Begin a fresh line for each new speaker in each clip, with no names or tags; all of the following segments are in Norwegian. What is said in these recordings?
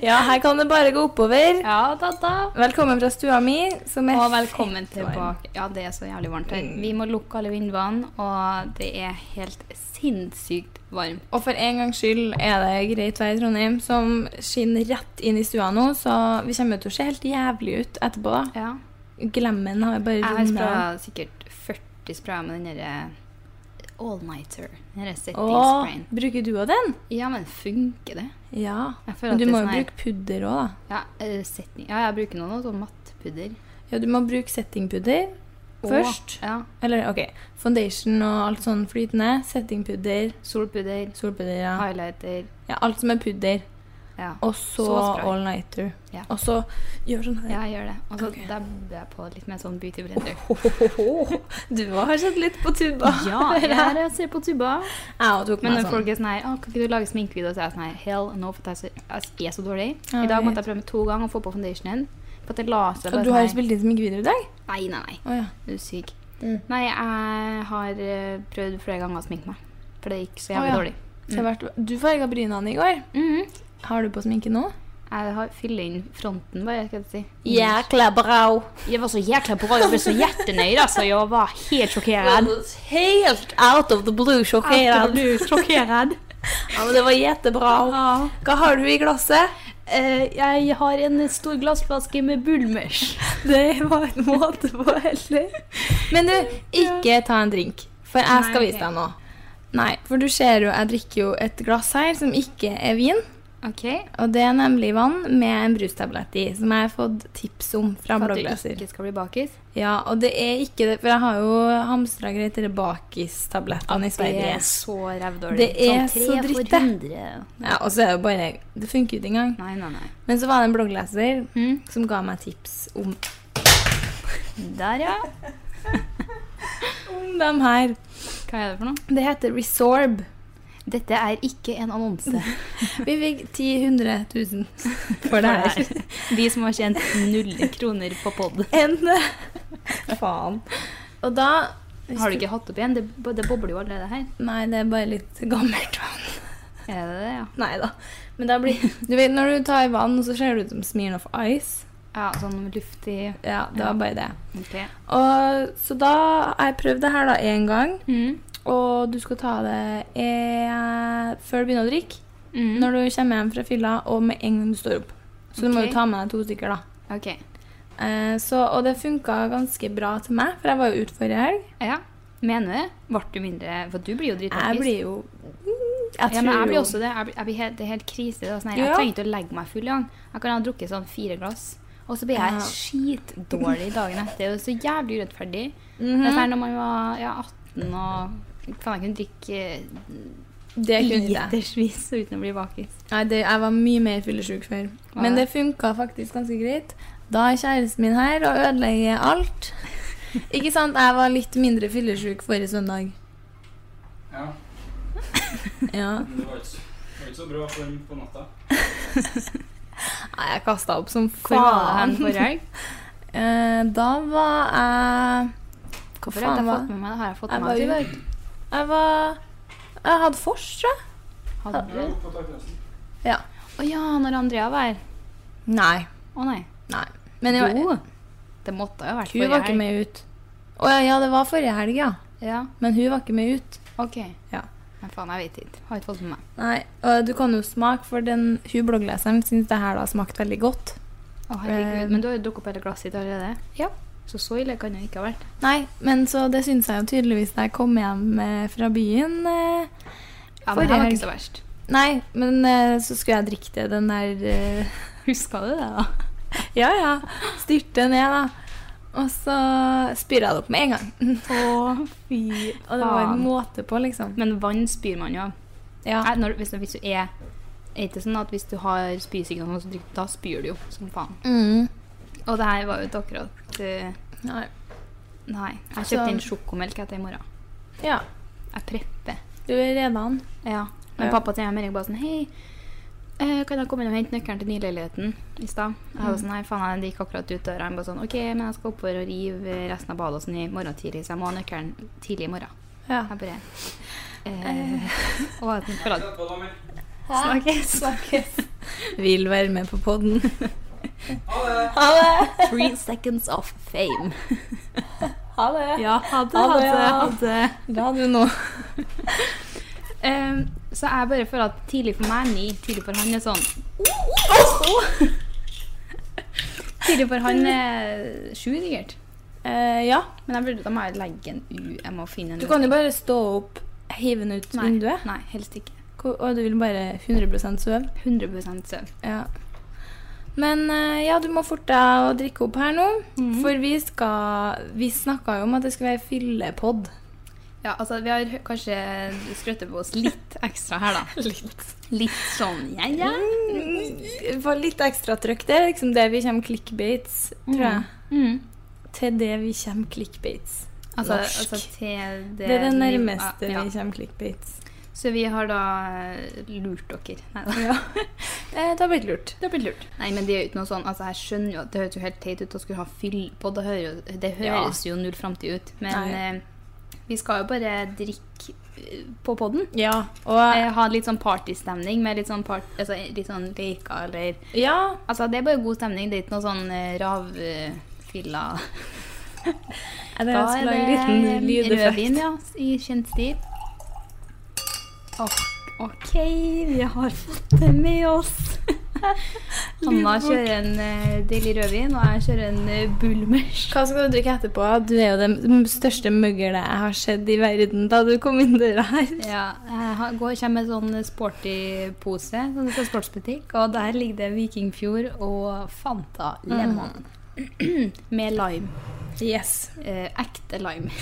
Ja, her kan det bare gå oppover.
Ja da, da.
Velkommen fra stua mi. Som er
Og velkommen
fett varm.
tilbake. Ja, det er så jævlig varmt her.
Mm.
Vi må lukke alle vinduene, og det er helt sinnssykt varmt.
Og for en gangs skyld er det greit vær i Trondheim, som skinner rett inn i stua nå, så vi kommer til å se helt jævlig ut etterpå. da.
Ja.
Glemmen har bare
Jeg har
rundet av.
spraya sikkert 40 sprayer med den derre all-nighter. Den derre
Åh,
setting-sprayen.
bruker du også den?
Ja, men funker det?
Ja.
Jeg
Men
føler at
du
det er
må jo
sånn her-
bruke pudder òg, da.
Ja, eh, setting. ja jeg bruker noe sånn mattpudder.
Ja, du må bruke settingpudder
Og-
først.
Ja.
Eller OK, foundation og alt sånn flytende. Settingpudder,
Solpudder,
solpudder, ja.
highlighter.
ja. Alt som er pudder.
Ja.
Og så
Så spray.
all-nighter.
Ja.
Og så gjør sånn her.
Ja, jeg gjør det. Og så
Ok.
dabber jeg på litt med sånn beauty blender.
Du har sett litt på tuba.
Ja, jeg er her og ser på tuba.
Jeg tok meg
Men når
sånn.
folk er sånn her, «Å, kan ikke du lage sminkevideo, så er jeg sånn her, hell no, for at jeg er så- jeg er så dårlig.
Ja,
I dag
jeg
måtte jeg prøve med to ganger å få på foundationen. For at jeg la seg
Og
bare
du har jo
sånn her,
spilt inn sminkevideo i dag?
Nei, nei, nei.
Å ja.
Du er syk.
Mm.
Nei, jeg har eh, prøvd flere ganger å sminke meg. For det gikk så
Å,
jævlig
ja.
dårlig.
Så
Mm.
det har vært- Du farga brynene i går.
Mhm.
Har du på sminke nå?
Jeg har fyller inn fronten, bare. skal jeg si.
Jækla bra.
Jeg var så jækla bra, jeg ble så hjertenøyd, altså. Jeg var helt sjokkerad.
Helt out of the blue
Jeg ble sjokkerad.
Ja, men det var jättebra.
Ja.
Hva har du i glasset?
Eh, jeg har en stor glassflaske med bulmers.
Det var en måte på heller. Men du, ikke ta en drink, for jeg skal
Nei,
vise
ok.
deg noe. Nei, for du ser jo, jeg drikker jo et glass her som ikke er vin.
OK.
Og det er nemlig vann med en brustablett i, som jeg har fått tips om fra
For at du
bloggleser.
ikke skal bli bakis.
Ja, og det er ikke det, for jeg har jo hamstra greit disse bakistablettene i
Det
Sverige.
er så rævdårlig.
Det er
Sånn tre
så dritt,
for
det.
100.
Ja, og så er det jo bare Det funker jo ikke engang.
Nei, nei, nei.
Men så var det en bloggleser
Mm.
som ga meg tips om,
Der, ja.
om dem her.
Hva er det for noe?
Det heter Resorb.
Dette er ikke en annonse.
Vi fikk 10 100 000 for det her.
De som har tjent null kroner på pod.
En Faen. Og da
Har du ikke hatt opp igjen? Det, bo- det bobler jo allerede her.
Nei, det er bare litt gammelt vann.
Er det det, ja?
Nei da. Men det blir Du vet når du tar i vann, så ser det ut som Smirnoff Ice.
Ja, sånn luftig
Ja, det
Ja.
var bare det.
OK.
Og, så da har jeg prøvd det her da én gang,
Mm.
og du skal ta det eh, før du begynner å drikke.
Mm.
Når du kommer hjem fra fylla, og med en gang du står opp. Så du må
Ok.
jo ta med deg to stykker, da.
OK.
Eh, så, og det funka ganske bra til meg, for jeg var jo ute forrige helg.
Ja. Mener du det? Ble du mindre For du blir jo
Jeg
dritnervøs.
blir jo Jeg
Ja, men jeg
tror
blir
jo-
også det. Jeg blir, jeg blir helt, det er helt krise. Det er sånn her,
Ja.
Jeg trenger ikke å legge meg full engang. Jeg kan ha drukket sånn fire glass. Og Og så blir jeg skitdårlig dagen etter. Og det er så jævlig urettferdig.
Mhm.
Det er
Mm.
sånn når man var ja, 18 og faen, jeg kunne drikke
Det
eh,
kunne jeg.
litersvis uten å bli bakis.
Nei, det, jeg var mye mer fyllesyk før. Men det funka faktisk ganske greit. Da er kjæresten min her og ødelegger alt. Ikke sant? Jeg var litt mindre fyllesyk forrige søndag.
Ja,
Ja.
men det var ikke, så- det var ikke så bra form på natta.
Nei, jeg kasta opp som
Hvor var det hen
faen.
forrige helg?
Eh, da var jeg Hva
Hvorfor har
faen
jeg ikke
var
fått med meg det? Har jeg fått
Jeg
med
var
meg det?
jo Jeg var Jeg hadde vors, tror jeg.
Hadde du?
Ja, på takklassen.
Å ja, når Andrea var her.
Nei.
Å nei.
Nei. Men jeg var,
Jo. Det måtte jo ha vært
hun var
forrige
ikke med ut. Å ja, ja, det var forrige helg, ja.
Ja,
Men hun var ikke med ut.
ok.
Ja.
Men faen, jeg vet ikke. Har ikke fått med meg.
Nei, og du kan jo smake, for den, hun bloggleseren syns det her da smakte veldig godt.
Å, herregud.
Eh,
Men du har jo drukket opp hele glasset ditt allerede.
Ja.
Så så ille kan det ikke ha vært.
Nei, men så det syns jeg jo tydeligvis da jeg kom hjem eh, fra byen. eh.
Ja,
Forrige
men det var
helg.
ikke så verst.
Nei, men eh, så skulle jeg drikke det, den der eh,
Huska du det, da?
Ja ja, styrte ned, da. Og så spyra det opp med en gang.
Å, fy
Og det var en måte på, liksom.
Men vann spyr man jo av.
Ja.
Nei, Når, hvis, hvis du er er ikke sånn at hvis du har spysignal, så drikk- da spyr du jo som faen.
Mm.
Og det her var jo ikke akkurat eh,
Nei.
Nei. Jeg
Så-
kjøpte inn sjokomelk etter i morgen.
Ja.
Jeg prepper.
Du er reda an.
Ja, men
Ja.
pappa til meg meldte bare sånn Hei, eh, kan jeg komme inn og hente nøkkelen til nyleiligheten i stad? Jeg var
Mm.
sånn, nei, faen, jeg gikk akkurat ut døra. Han bare sånn, ok, men jeg skal oppover og rive resten av badet og sånn i morgen tidlig, så jeg må ha nøkkelen tidlig i morgen.
Ja.
Jeg bare eh, Og jeg tenkte bare at
Etterpå, da, men.
snakkes.
Vil være med på poden.
Three seconds of fame.
Ha det.
Ja, ha det,
Ha det, ja.
det.
Da du nå.
Eh, så jeg bare føler at tidlig for meg er ni, tidlig for han er sånn oh, Tidlig for han er sju, sikkert.
Eh, ja.
Men jeg burde, da må jeg legge en U. Jeg må finne en
Du kan jo bare stå opp, hive den ut
Nei,
vinduet,
Nei, helst ikke.
Hvor- og du vil bare 100 sove.
100 søvn.
Ja. Men eh, ja, du må forte deg å drikke opp her nå. For vi skal Vi snakka jo om at det skulle være fyllepod.
Ja, altså, vi har hø- kanskje skrøtet på oss litt ekstra her, da. litt. Litt sånn ja, ja.
Mm, Få litt ekstra trøkk. Det er liksom det vi kommer clickbates, tror jeg.
Mm.
Til det vi kommer clickbates.
Altså,
Norsk.
altså til det
Det er det
niv-
nærmeste
ja.
vi kommer clickbates.
Så vi har da eh, lurt dere. Nei da.
Eh, det har blitt lurt.
Det har blitt lurt. Nei, men det er jo ikke noe sånn Altså, jeg skjønner jo at det høres jo helt teit ut å skulle ha fyll på. Det, hører, jo- det
Ja.
høres jo null framtid ut. Men
Nei.
eh, vi skal jo bare drikke eh, på podden.
Ja. Og
Eh, ha litt sånn partystemning med litt sånn, part, altså, litt sånn leker eller
ja.
Altså, det er bare god stemning. Det er ikke noe sånn eh, ravfilla
Er det jeg skulle lage en liten
rødvin,
lydeffekt.
ja. I kjent stil. Å, OK, vi har fått det med oss. Hanna
Lydbok.
kjører en eh, deilig rødvin, og jeg kjører en eh, Bulmers.
Hva skal du drikke etterpå? Du er jo det m- største møggelet jeg har sett i verden da du kom inn døra her.
Ja, jeg har- går, kommer med sånn sporty pose sånn fra sportsbutikk, og der ligger det Vikingfjord og Fanta Lemon.
Mm.
med lime.
Yes.
Eh, ekte lime.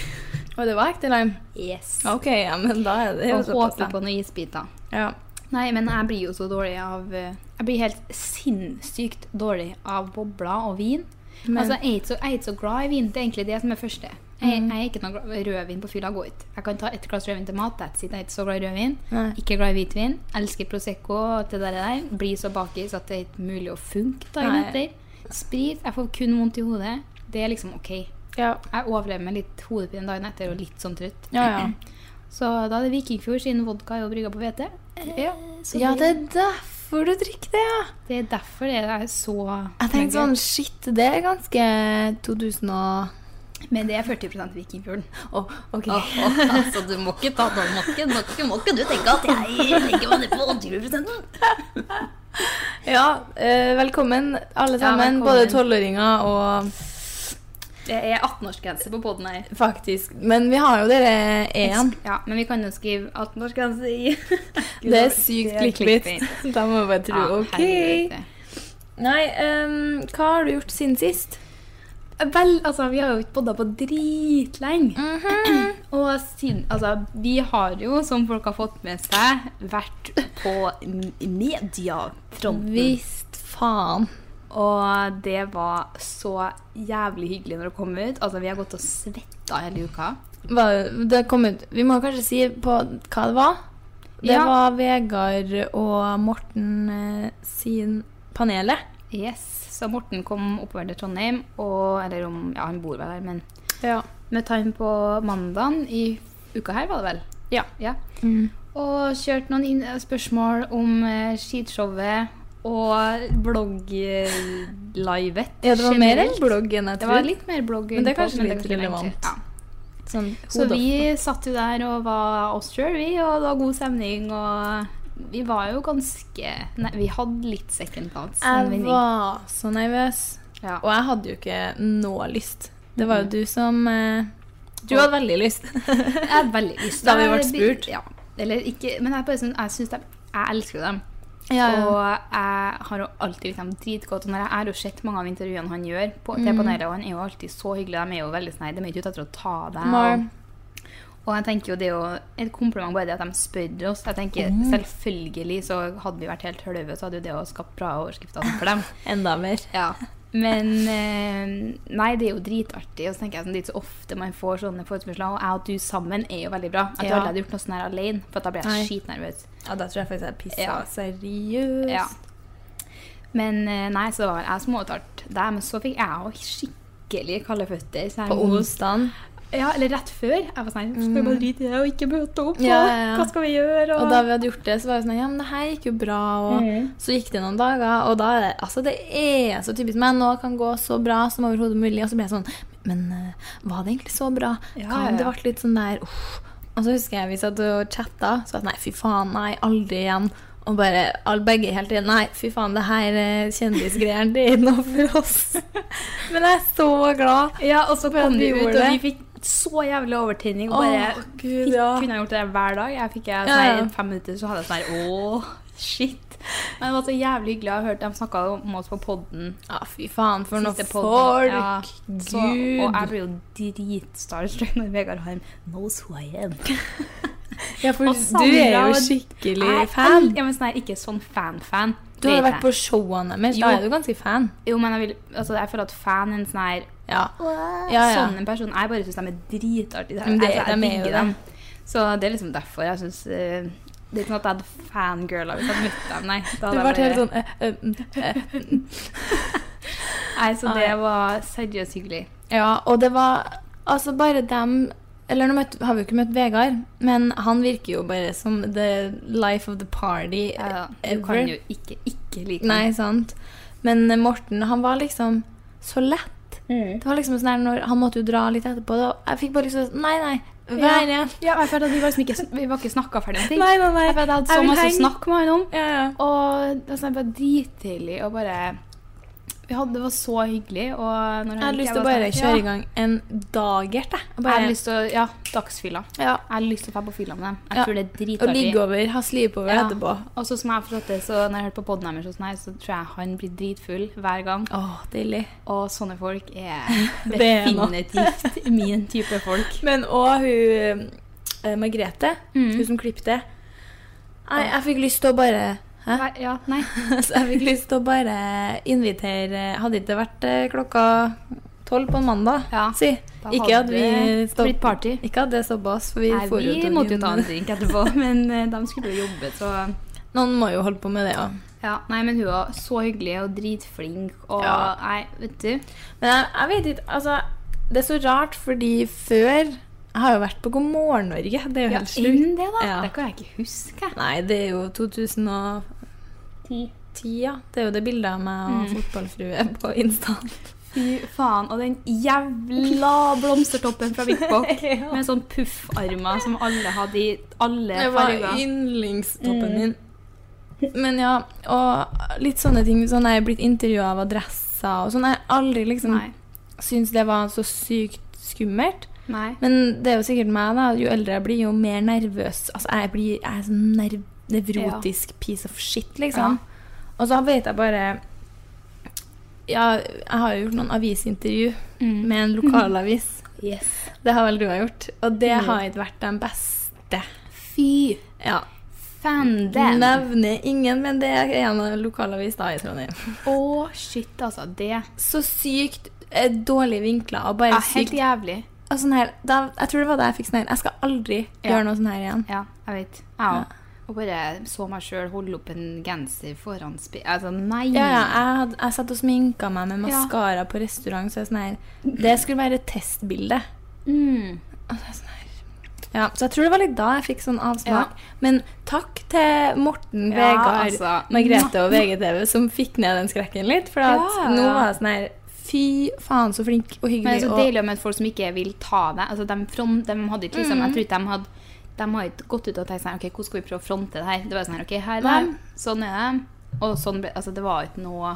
Og det var ekte lime?
Yes.
Ok, ja, men da er det jo
Og
såpass.
håper
da.
på noen isbiter.
Ja.
Nei, men jeg blir jo så dårlig av eh, Jeg blir helt sinnssykt dårlig av bobler og vin.
Men-
altså, jeg er, ikke så, jeg er ikke så glad i vin. Det er egentlig det som er første. Jeg,
Mm.
jeg er ikke noe glad Rødvin på fylla går ikke. Jeg kan ta et glass rødvin til mat. That's it. Jeg er ikke så glad i rødvin.
Nei.
Ikke glad i hvitvin. Elsker Prosecco og alt det der. der. Blir så bakis at det er ikke mulig å funke dagen
Nei.
etter. Sprit. Jeg får kun vondt i hodet. Det er liksom OK.
Ja.
Jeg overlever med litt hodepine dagen etter og litt sånn trøtt.
Ja, ja.
Så da er det Vikingfjord siden vodka er jo brygga på hvete.
Ja.
Eh, så
ja,
blir-
det er derfor du drikker det, ja.
Det er derfor det er så
Jeg tenkte sånn, shit, det er ganske 2000 og...
Men det er 40 Vikingfjorden.
Åh, ok.
altså, du må ikke ta den makken. Må ikke, må ikke du tenke at jeg legger meg ned på 20
Ja, eh, velkommen alle sammen,
velkommen.
både tolvåringer og
Det er 18-årsgrense på poden her.
faktisk. Men vi har jo dere en.
Ja, men vi kan jo skrive 18-årsgrense i
Det er sykt clickbait. Da må vi bare tro,
Ja,
ok.
herregud.
Nei, ehm, hva har du gjort siden sist?
Vel, altså, vi har jo ikke bodda på dritlenge.
Mhm.
Og siden, altså, vi har jo, som folk har fått med seg, vært på m- mediafronten.
Visst faen.
Og det var så jævlig hyggelig når det kom ut. Altså, vi har gått og svetta hele uka.
Hva- Det kom ut Vi må kanskje si på hva det var? Det
Ja.
var Vegard og Morten eh, sin panelet.
Yes, Så Morten kom oppover til Trondheim, og, eller om, ja, han bor vel her, men
Ja.
møtte han på mandagen i uka her, var det vel?
Ja. Mm.
Og kjørte noen inn spørsmål om eh, skishowet og blogglivet.
det var mer enn blogg enn jeg
Det var
trodde.
litt mer blogg.
Men det er
innpå,
kanskje
men
litt
kanskje
relevant.
lenger. Ja.
Sånn,
Så vi satt jo der og var oss sjøl, vi, og det var god stemning. Og vi var jo ganske Nei, vi hadde litt second thoughts. men
Jeg
vi-
var så nervøs.
ja.
Og jeg hadde jo ikke noe lyst. Det var jo du som eh, Du hadde veldig lyst.
Jeg hadde veldig lyst.
Da vi ble
Jeg blir-
spurt.
Ja. Eller ikke Men jeg, er bare sånn, jeg syns dem Jeg elsker dem.
Og-
Og jeg har jo alltid likt dem dritgodt. Og når jeg har jo sett mange av intervjuene han gjør, på, det
Mm.
panelet, og han er jo alltid så hyggelig. De er jo veldig sånn, nei, de er ikke ute etter å ta deg.
Mar-
Og, og jeg tenker jo det er jo et kompliment bare det at de spør oss. Jeg tenker
Mm.
Selvfølgelig så hadde vi vært helt hølve, så hadde jo det å skapt bra overskrifter for dem.
Enda mer.
Ja. Men eh, Nei, det er jo dritartig. Og så tenker jeg sånn, det er ikke så ofte man får sånne forespørsler. Og jeg og du sammen er jo veldig bra. Jeg
Ja.
tror aldri jeg hadde gjort noe sånn her alene, for at da blir
Nei.
jeg skitnervøs.
Ja, da tror jeg faktisk jeg pissa
Ja.
seriøst.
Ja. Men eh, nei, så det var jeg som overtalte deg. Men så fikk jeg òg skikkelig kalde føtter. Så jeg
På
må-
onsdagen.
Ja, eller rett før. Jeg var sånn Skal vi bare drite i det og ikke møte opp?
Mm. Ja,
og
ja, ja.
Hva skal vi gjøre? Mm.
Og da vi hadde gjort det, så var det sånn Ja, men det her gikk jo bra. Og så gikk det noen dager, og da er det Altså, det er så typisk meg. Nå kan gå så bra som overhodet mulig. Og så ble jeg sånn Men eh, var det egentlig så bra?
Ja,
Hva
ja,
om det
ja.
ble litt sånn der uff. Og så husker jeg vi satt og chatta, så at nei, fy faen, nei, aldri igjen. Og bare all, begge helt igjen. Nei, fy faen, det her eh, kjendisgreiene, det er ikke noe for oss. Men jeg er så glad.
ja, og så
for at
kom
vi
vi ut,
gjorde
og vi
det.
fikk så jævlig overtenning. Og
Åh,
bare fikk,
Gud, ja.
kunne jeg gjort det hver dag. Jeg fikk jeg,
Ja,
sånn, her
ja.
i fem minutter, så hadde jeg sånn her Åh, shit. Men det var så jævlig hyggelig. Jeg hørte de snakka om oss på podden
Ja, fy faen, for noe
Siste
folk.
podden. Ja.
Gud.
Så, og jeg blir jo dritstarstruck når Vegard Harm knows who I am.
ja, for
og
du er
Sandra, og-
jo skikkelig
Jeg er
fan.
fan. Ja, men sånn her, ikke sånn fan-fan.
Du har jo vært på showene deres. Da
Jo.
er du ganske fan.
Jo, men jeg, vil, altså, jeg føler at fan er en sånn her
Ja. ja, ja.
Sånne personer. Sånn Jeg bare syns de er dritartige.
Men det-
jeg, jeg
de er jo
digger
det.
dem. Så det er liksom derfor jeg syns eh, Det er ikke noe at jeg hadde fangirla hvis jeg hadde møtt dem, nei. Da
Du
hadde
ble
jeg
helt sånn eh, eh, mm, eh.
Nei,
ah,
så det var seriøst hyggelig.
Ja, og det var altså bare dem Eller nå møtte, har vi jo ikke møtt Vegard, men han virker jo bare som the life of the party
Ja, du
Eh, ever.
kan jo ikke ikke like dem.
Nei, sant. Men eh, Morten, han var liksom så lett. Det var liksom sånn her når Han måtte jo dra litt etterpå. Da, jeg fikk bare liksom Nei, nei. Vær
Ja.
igjen.
Ja, jeg føler at vi var liksom ikke, vi var ikke snakka ferdig om ting.
Nei, nei, nei.
Jeg føler at jeg hadde
Jeg
så
vil
masse
henge.
snakk med han om.
Ja, ja.
Og det var sånn, det var dritdeilig og bare vi hadde, Det var så hyggelig. Og når han
Jeg hadde
gikk,
lyst til å
var
bare
sånn,
kjøre
ja.
i gang en dagert. jeg. Og
Jeg
Bare,
hadde lyst til å, ja, dagsfylla.
ja,
Jeg hadde lyst til å dra på fylla med dem. Jeg
Ja.
tror det er
og
dritartig.
ligge over, ha slipeover
Ja.
etterpå.
Og så som jeg har forstått det, så når jeg hørte på podden deres, og sånn her, så tror jeg han blir dritfull hver gang.
Å, deilig.
Og sånne folk er
Det er noe.
definitivt min type folk.
Men òg hun eh, Margrethe,
Mm.
hun som klippet det. Nei, jeg fikk lyst til å bare Hæ?
Nei, Ja, nei.
Så jeg fikk lyst til å bare invitere Hadde ikke det vært eh, klokka tolv på en mandag,
Ja,
si.
da
Ikke at
hadde
vi
det
stopp-
blitt party.
Ikke at det stoppa oss, for vi
Nei,
får jo
vi
til
måtte jo
noen-
ta en drink etterpå, men eh, de skulle jo jobbe, så
Noen må jo holde på med det òg.
ja, Nei, men hun var så hyggelig og dritflink, og
Ja.
nei, vet du
Men jeg, jeg vet ikke, altså Det er så rart, fordi før Jeg har jo vært på God morgen Norge. Det er jo
Ja,
helt sjukt.
enn det, da.
Ja.
Det kan jeg ikke huske.
Nei, det er jo 2010, ja. Det er jo det bildet av meg og fotballfrue på Insta.
Fy faen. Og den jævla blomstertoppen fra Vikbok
Ja.
med sånn puffarmer som alle hadde i alle
Det var
farger.
yndlingstoppen min. Men ja, og litt sånne ting. Sånn jeg er blitt intervjua av adresser og sånn. Jeg har aldri liksom
Nei.
syntes det var så sykt skummelt.
Nei.
Men det er jo sikkert meg, da. Jo eldre jeg blir, jo mer nervøs. Altså, jeg blir jeg er sånn nerv nevrotisk piece of shit, liksom. Og så vet jeg bare ja, jeg har jo gjort noen avisintervju med en lokalavis.
Yes.
Mm. Det har vel du har gjort. Mm. Og det har ikke vært den beste.
Fy
Ja.
fanden!
Nevner ingen, men det er en lokalavis da i Trondheim.
Å, shit, altså. Det
Så sykt eh, dårlige vinkler og bare
er helt
sykt
jævlig.
og sånn her, da, Jeg tror det var da jeg fikk sånn her Jeg skal aldri
Ja.
gjøre noe sånn her igjen.
Ja, jeg vet. Jeg òg. Og bare så meg sjøl holde opp en genser foran spi... Altså, nei!
Ja, ja, jeg, hadde, jeg satt og sminka meg med
Ja.
maskara på restaurant. Så jeg sånn her, det skulle være et testbilde.
Mm.
Og så er jeg sånn her. Ja, så jeg tror det var litt da jeg fikk sånn avsmak. Men takk til Morten,
Ja,
Vegard,
altså.
Margrethe og VGTV som fikk ned den skrekken litt. For at
Ja.
nå var jeg sånn her Fy faen, så flink og
Men det er
hyggelig.
så
og-
deilig å møte folk som ikke vil ta deg. Altså, de, front, de hadde ikke liksom
Mm.
Jeg tror ikke de hadde de har ikke gått ut og tenkt sånn OK, hvordan skal vi prøve å fronte det her? Det var sånn her OK, her er
Nei.
de, sånn er de. Og sånn ble Altså, det var ikke noe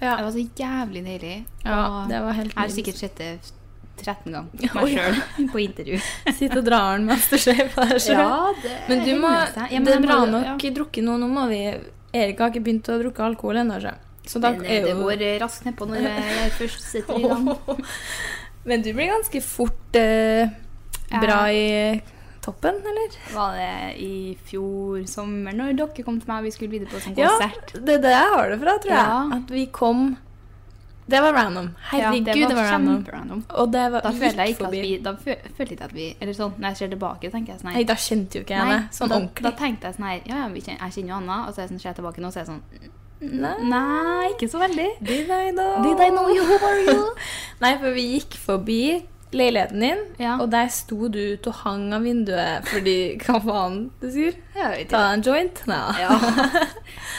Ja.
Det var så jævlig deilig.
Ja,
Og
det var helt
Jeg har
nydelig.
sikkert sett det 13 ganger
Oi.
meg sjøl på intervju.
Sitte og dra den mens du ser på deg selv.
det
Men du må,
hender seg. Ja, men
det er
jeg
bra
må-
nok drukke noe. Nå må vi Erik har ikke begynt å drukke alkohol ennå, så. så da
Men, eh,
er
det
jo
går eh, raskt nedpå når jeg først setter i gang.
Men du blir ganske fort eh, bra i toppen, eller?
Var det i fjor sommer når dere kom til meg og vi skulle videre på sånn
Ja,
konsert?
det er det jeg har det fra, tror jeg.
Ja.
At vi kom Det var random. Herregud, det var, random.
kjemperandom.
Og det var
Da følte jeg
gikk
ikke at
forbi.
vi Da fø- følte jeg ikke at vi Eller sånn, når jeg ser tilbake, tenker jeg sånn
Nei, da kjente jo ikke jeg
nei,
det sånn
da, Da
ordentlig.
tenkte jeg sånn her Ja, ja, vi kjen- jeg kjenner jo Anna, og så er jeg sånn, ser jeg tilbake nå, så er jeg sånn
Nei.
Nei, ikke så veldig.
Did I know?
Did I know you? Who are you?
Nei, for vi gikk forbi leiligheten din,
Ja.
og der sto du ute og hang av vinduet fordi Hva faen du sier?
Jeg vet
Ta en joint? Nei.
Ja.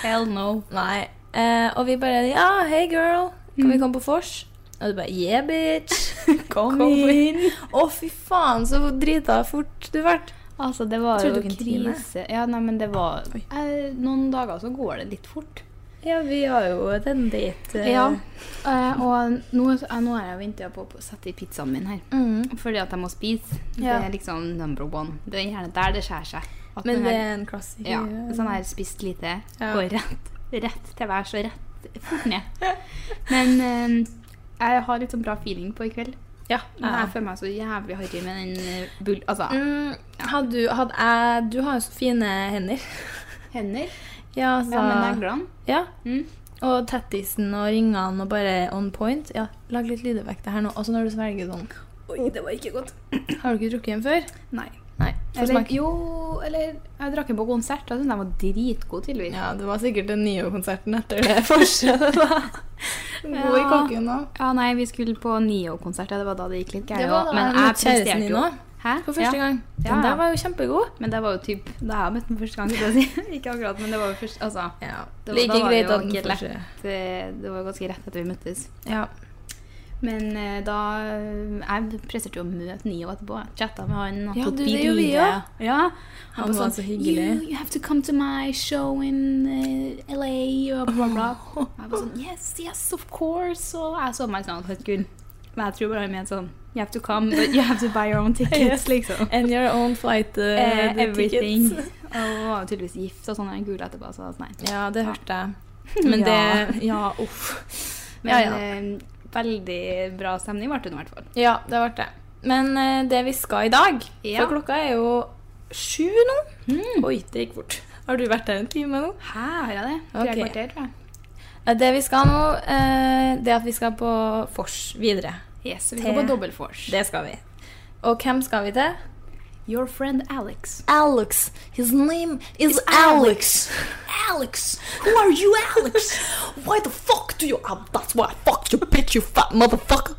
Hell no.
Nei. Eh, og vi bare Ja, hey girl, kan vi komme på vors? Og du bare Yeah, bitch. Mm. Kom, inn. Å, fy faen, så drita fort du ble.
Altså, det var
Jeg
jo
trodde dere kunne.
krise. Ja, nei, men det var eh, Noen dager så går det litt fort.
Ja, vi har jo et en date. eh.
Ja. eh, og nå, eh, nå er jeg jo inntil på å sette i pizzaen min her.
Mm.
Fordi at jeg må spise.
Ja.
Det er liksom number one. Det er gjerne der det skjærer seg. At
Men
man
det
har-
er en klassiker.
ja, Sånn her spist lite,
Ja.
og rett, rett til værs og rett fort ned. Men eh, jeg har litt sånn bra feeling på i kveld.
Ja.
Men jeg føler meg så jævlig harry med den eh, bull... Altså,
Mm, hadde du, hadde jeg, du har jo så fine hender.
hender.
Ja, så,
Ja, men neglene.
Ja.
Mm.
Og tattisen og ringene og bare on point. Ja, Lag litt lydeffekter her nå. Også når du svelger sånn.
Oi, det var ikke godt.
Har du ikke drukket en før?
Nei.
Nei. Få
Eller,
smake.
jo, eller jeg drakk den på konsert. Da syntes jeg den var dritgod, tydeligvis.
Ja, det var sikkert den nye konserten etter det forskjellet, da. God i
Ja.
kokken nå.
Ja, nei, vi skulle på Nio-konsert, ja, det var da det gikk litt gærent.
Det var da jeg
også,
møtte
jeg
kjæresten
presterte
din
jo.
også,
Hæ?
For første
ja.
gang. Den
Ja, ja.
der var jo kjempegod.
Men det var jo typ da jeg møtte den første gang, skal jeg si. ikke akkurat, men det var jo først, altså. Det
Like
var, da var det
greit
jo
at den
ikke
får
lett,
se.
eh, Det var ganske rett etter vi møttes.
Ja.
Men eh, da eh, Jeg presterte jo å møte Nio etterpå. Jeg chatta med han. og
Ja,
tok
du, det gjorde vi
bilder.
også.
Ja.
Han
var
var
sånn,
så hyggelig.
You, you have to come to my show in eh, LA og bla, bla. Jeg var sånn Yes, yes, of course. Og jeg så meg sånn at Gud. Men jeg tror bare han mente sånn You have to come, but you have to buy your own tickets, liksom.
And your own flight uh,
Eh,
the
everything.
tickets.
Og hun var jo tydeligvis gift og sånn. og Jeg googlet etterpå, så jeg var sånn, nei.
Ja, det hørte jeg. Men
Ja.
det Ja, uff.
Men
ja, ja.
eh, veldig bra stemning ble det nå, i hvert fall.
ja, det ble det. Men eh, det vi skal i dag
Ja.
For klokka er jo sju nå. Oi, det gikk fort. Har du vært der en time nå?
Hæ, har jeg det? Tre
Ok.
kvarter, tror jeg.
Eh, Det vi skal nå, eh, det er at vi skal på vors videre.
Yes, så vi
Tre.
går på dobbelt force.
Det skal vi. Og hvem skal vi til?
Your friend Alex.
Alex. His name is Alex. Alex. Who are you, Alex? Why the fuck do you... Oh, that's why I fucked you, bitch, you fat motherfucker.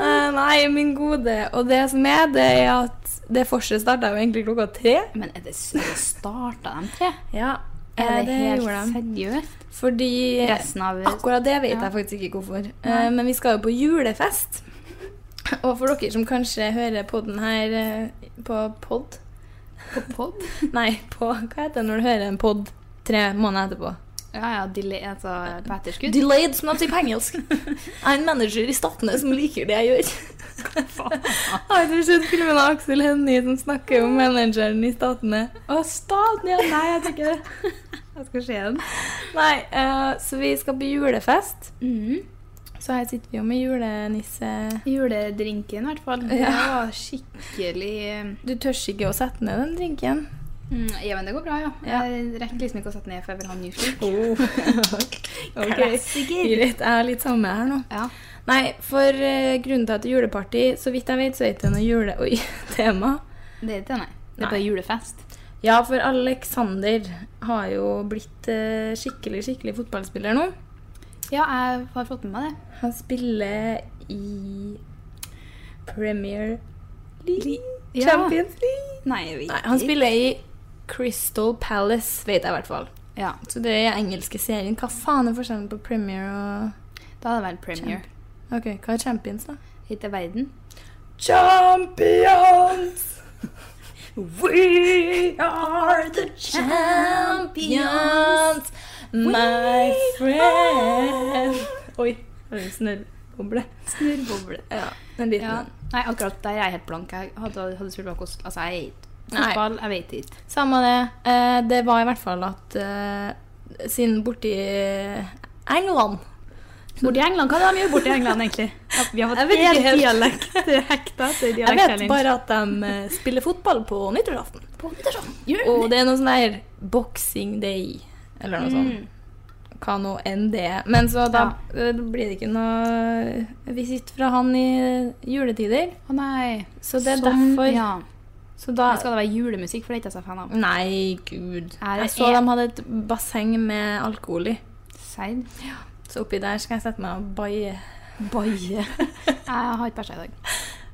Eh, nei, min gode. Og det som er, det er at det forset starta jo egentlig klokka tre.
Men er det, er det starta de tre?
Ja, eh,
Er det, helt
gjorde de.
seriøst?
Fordi
Resten av
Akkurat det vet
Ja.
jeg faktisk ikke hvorfor. Eh, men vi skal jo på julefest. Og for dere som kanskje hører podden her eh, på pod
på pod?
Nei, på Hva heter det når du hører en pod tre måneder etterpå?
Ja, ja, delay, altså på etterskudd.
Delayed, som de sier på engelsk. Jeg er en manager i Statene som liker det jeg gjør. Har du sett filmen av Aksel Hennie som snakker om manageren i Statene? Å, Staten, ja, nei, jeg tror ikke det.
Jeg skal se den.
Nei, eh, så vi skal på julefest.
Mhm.
Så her sitter vi jo med julenisse
Juledrinken, i hvert fall. Det var skikkelig
Du tør ikke å sette ned den drinken.
mm, Ja, men det går bra, ja. Oh.
Ja.
Jeg rekker liksom ikke å sette ned, for jeg vil ha en ny slurk.
Greit, jeg er litt samme her nå.
Ja.
Nei, for eh, grunnen til at det er juleparty, så vidt jeg vet, så er det ikke noe jule... Oi, tema.
Det er ikke det, nei.
Nei.
Det er bare julefest.
Ja, for Alexander har jo blitt eh, skikkelig, skikkelig fotballspiller nå.
Ja, jeg har fått med meg det.
Han spiller i Premier League.
Ja.
Champions League.
Nei, jeg vet
Nei, han spiller i Crystal Palace, vet jeg i hvert fall.
Ja,
Så det er engelske serien. Hva faen er forskjellen på Premier og
da er det vel premier.
Ok, hva er Champions, da?
Hit er verden.
Champions! We are the champions, my friend. Oi, det er en snørrboble.
Snurrboble.
Ja, en liten
Ja.
en.
Nei, akkurat der er jeg helt blank. Jeg hadde, hadde spurt bak oss. Altså, jeg er ikke
Nei.
fotball, jeg vet ikke.
Samme det. Eh, det var i hvert fall at eh, siden borti England
Borti England, hva er det de gjør borti England, egentlig? Ja, Vi har
Jeg
fått
vet
helt
ikke helt.
dialekt. Det er hekta til
Jeg vet
dialekt-challenge.
bare at de eh, spiller fotball på nyttårsaften. Og det er noe sånn der Boxing Day eller noe
Mm.
sånt. Hva nå enn det er. Men så da eh, blir det ikke noe visitt fra han i juletider.
Å nei.
Så det er
Sånn,
derfor
Ja.
Så
Da
da
skal det være julemusikk, for det er ikke jeg så fan av.
Nei, gud.
Er
Jeg
det
så de
en-
hadde et basseng med alkohol i.
Serr?
Så oppi der skal jeg sette meg og baie.
Baie. Jeg har ikke bæsja i dag.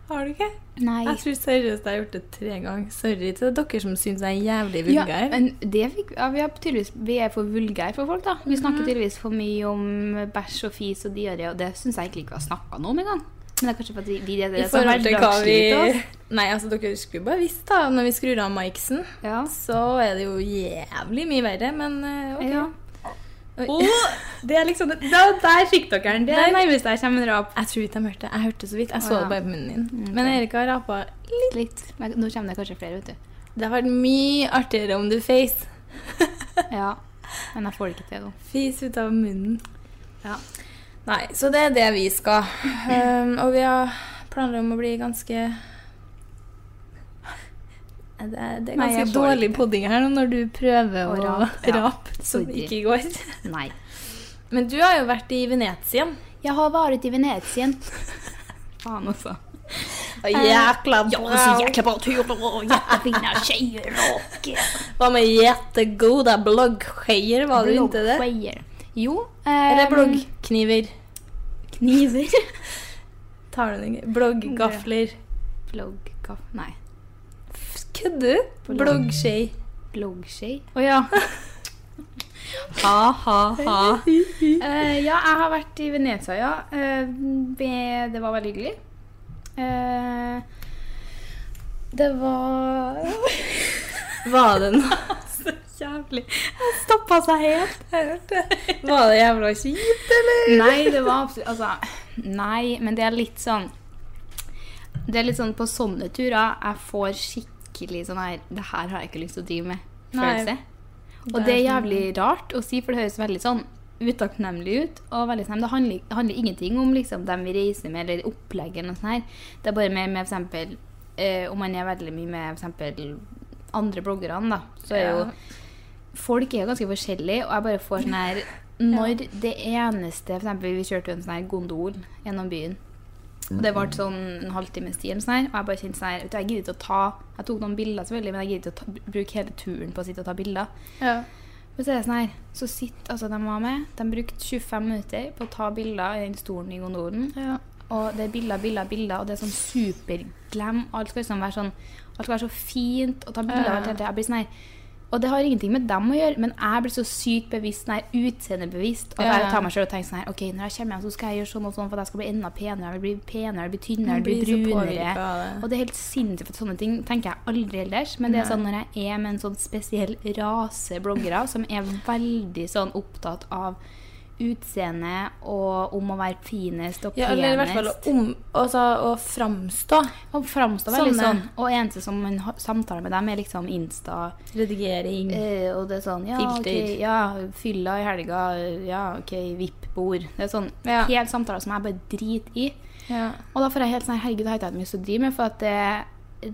Har du ikke?
Nei.
Jeg tror seriøst jeg har gjort det tre ganger. Sorry til dere som syns jeg er jævlig
Ja,
vulgær.
men det fikk, ja, vi, er tydeligvis, vi er for vulgære for folk, da. Vi
Mhm.
snakker tydeligvis for mye om bæsj og fis og diaré, og det syns jeg egentlig ikke vi har snakka noe om engang. Men det er kanskje for at vi, vi er det
I
som
forhold til hva vi
hverdagslivet til oss.
Nei, altså, dere skulle bare visst, da. Når vi skrur av miksen,
Ja.
så er det jo jævlig mye verre, men eh, OK.
Ja.
Oi.
Det er liksom det- da, Der fikk dere den. Det er
Der.
nærmest der kommer en rap.
Jeg tror ikke de hørte det. Jeg hørte det så vidt. Jeg så
Å, ja.
det
Mm,
bare på munnen din. Men Erika har rapa litt.
Litt. Men nå kommer det kanskje flere, vet du.
Det har vært mye artigere om du face.
Ja. Men jeg får det ikke til nå.
Fis ut av munnen.
Ja.
Nei, så det er det vi skal. Um, og vi har planer om å bli ganske det er, det er
Nei,
ganske
jeg får
dårlig
ikke.
podding her nå når du prøver å
Og rap,
rape,
ja.
som
Sorry.
ikke går.
Nei.
Men du har jo vært i Venezia.
Jeg har vært i Venezia. Faen, altså.
altså, Jækla
bra turer. Jättefina tjejer och...
Hva med jettegoda bloggskeier, var du ikke det?
Bloggskeier. Jo.
Eller
ehm,
bloggkniver.
Kniver.
Tar du den ikke? Blogggafler.
Bloggkaff... Nei.
Kødder du? Bloggskei.
Bloggskei. Å ja. Ha, ha, ha. Eh, ja, jeg har vært i Venezia, ja. Eh, ve- det var veldig hyggelig. Eh, det var
Var det noe
Så jævlig. Jeg stoppa seg helt.
Var det jævla kjipt, eller?
Nei, det var absolutt Altså, nei, men det er litt sånn Det er litt sånn på sånne turer jeg får skikkelig sånn her Det her har jeg ikke lyst til å drive med.
Nei.
Følelse. Og
Det
det er
er
jævlig rart å si, for det høres veldig sånn utakknemlig ut. Og veldig sånn, Det handler, det handler ingenting om liksom, dem vi reiser med, eller opplegget. eller noe sånt her. Det er bare mer med for eksempel, eh, Om man er veldig mye med for eksempel, andre bloggerne, da, så er jo
Ja.
Folk er jo ganske forskjellige, og jeg bare får sånn her Når det eneste For eksempel, vi kjørte jo en sånn her gondol gjennom byen. Og det ble sånn en halvtimes tid, eller sånn her, og jeg bare kjente sånn her vet du, Jeg gidder ikke å ta Jeg tok noen bilder, selvfølgelig, men jeg gidder ikke å ta, bruke hele turen på å sitte og ta bilder.
Ja.
Men så er det sånn her, så sitter altså de var med, de brukte 25 minutter på å ta bilder i den stolen i gondolen.
Ja.
Og det er bilder, bilder, bilder, og det er sånn superglem. Alt skal liksom være sånn, alt skal være så fint, og ta bilder av alt hele tiden. Jeg blir sånn her, og det har ingenting med dem å gjøre, men jeg blir så sykt bevisst, sånn her, utseendebevisst, at
Ja.
jeg tar meg selv og tenker sånn her, ok, når jeg kommer hjem så skal jeg gjøre sånn og sånn, for at jeg skal bli enda penere, jeg vil bli penere, jeg vil bli tynnere, jeg vil bli
Man blir så
brunere.
påvirket av det.
Og det er helt sinnssykt, for sånne ting tenker jeg aldri ellers. Men det er sånn når jeg er med en sånn spesiell rase bloggere som er veldig sånn opptatt av utseende og om å være finest og penest.
Ja, eller i hvert fall om, altså, å framstå.
Han framstår veldig
Sånne.
sånn. Og eneste som man ha- samtaler med dem, er liksom Insta.
Redigering.
Eh, og det er sånn ja,
Filter.
ok, ja, fylla i helga. Ja, OK, VIP-bord. Det er sånn
Ja.
helt samtaler som jeg bare driter i.
Ja.
Og da får jeg helt sånn Herregud, det har ikke jeg mye å drive med. For at det,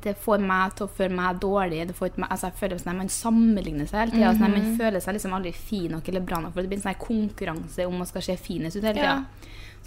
det får meg til å føle meg dårlig. Det får ikke meg, altså jeg føler sånn at Man sammenligner seg hele tida. sånn at man føler seg liksom aldri fin nok eller bra nok. For det blir en sånn her konkurranse om man skal se finest ut hele tida.
Ja.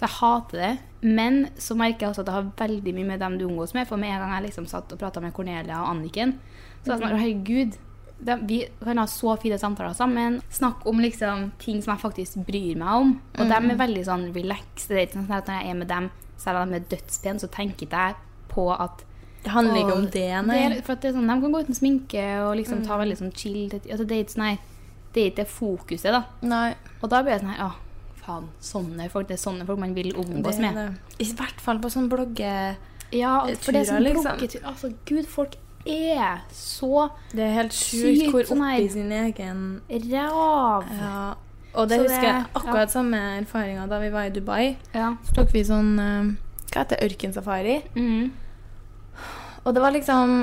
Så jeg hater det. Men så merker jeg også at det har veldig mye med dem du omgås med. For med en gang jeg liksom satt og prata med Cornelia og Anniken, så var jeg sånn Herregud. De, vi kan ha så fine samtaler sammen. Snakke om liksom ting som jeg faktisk bryr meg om. Og
Mm.
de er veldig sånn relaxed. Det er ikke sånn at når jeg er med dem, selv om de er dødspene, så tenker ikke jeg på at
Det handler ikke om
Åh,
det, nei. Mm.
det er- for at det er sånn, de kan gå uten sminke og liksom ta veldig sånn chill altså, Det er ikke sånn her Det er ikke det fokuset, da.
Nei.
Og da blir jeg sånn her Å, faen. Sånne folk. Det er sånne folk man vil omgås
Det er
med.
det. I hvert fall på sånn blogge...
Ja,
Eh,
for det er
turer,
sånn
liksom.
bloggetur Altså, gud, folk er så
Det er helt
Sykt
sjukt hvor
sånn her-
oppi sin egen
ræv.
Ja. Og det
Så det-
husker jeg
ja.
akkurat samme erfaringa da vi var i Dubai.
Ja.
Så tok vi sånn eh, Hva heter det? Ørkensafari.
Mm.
Og det var liksom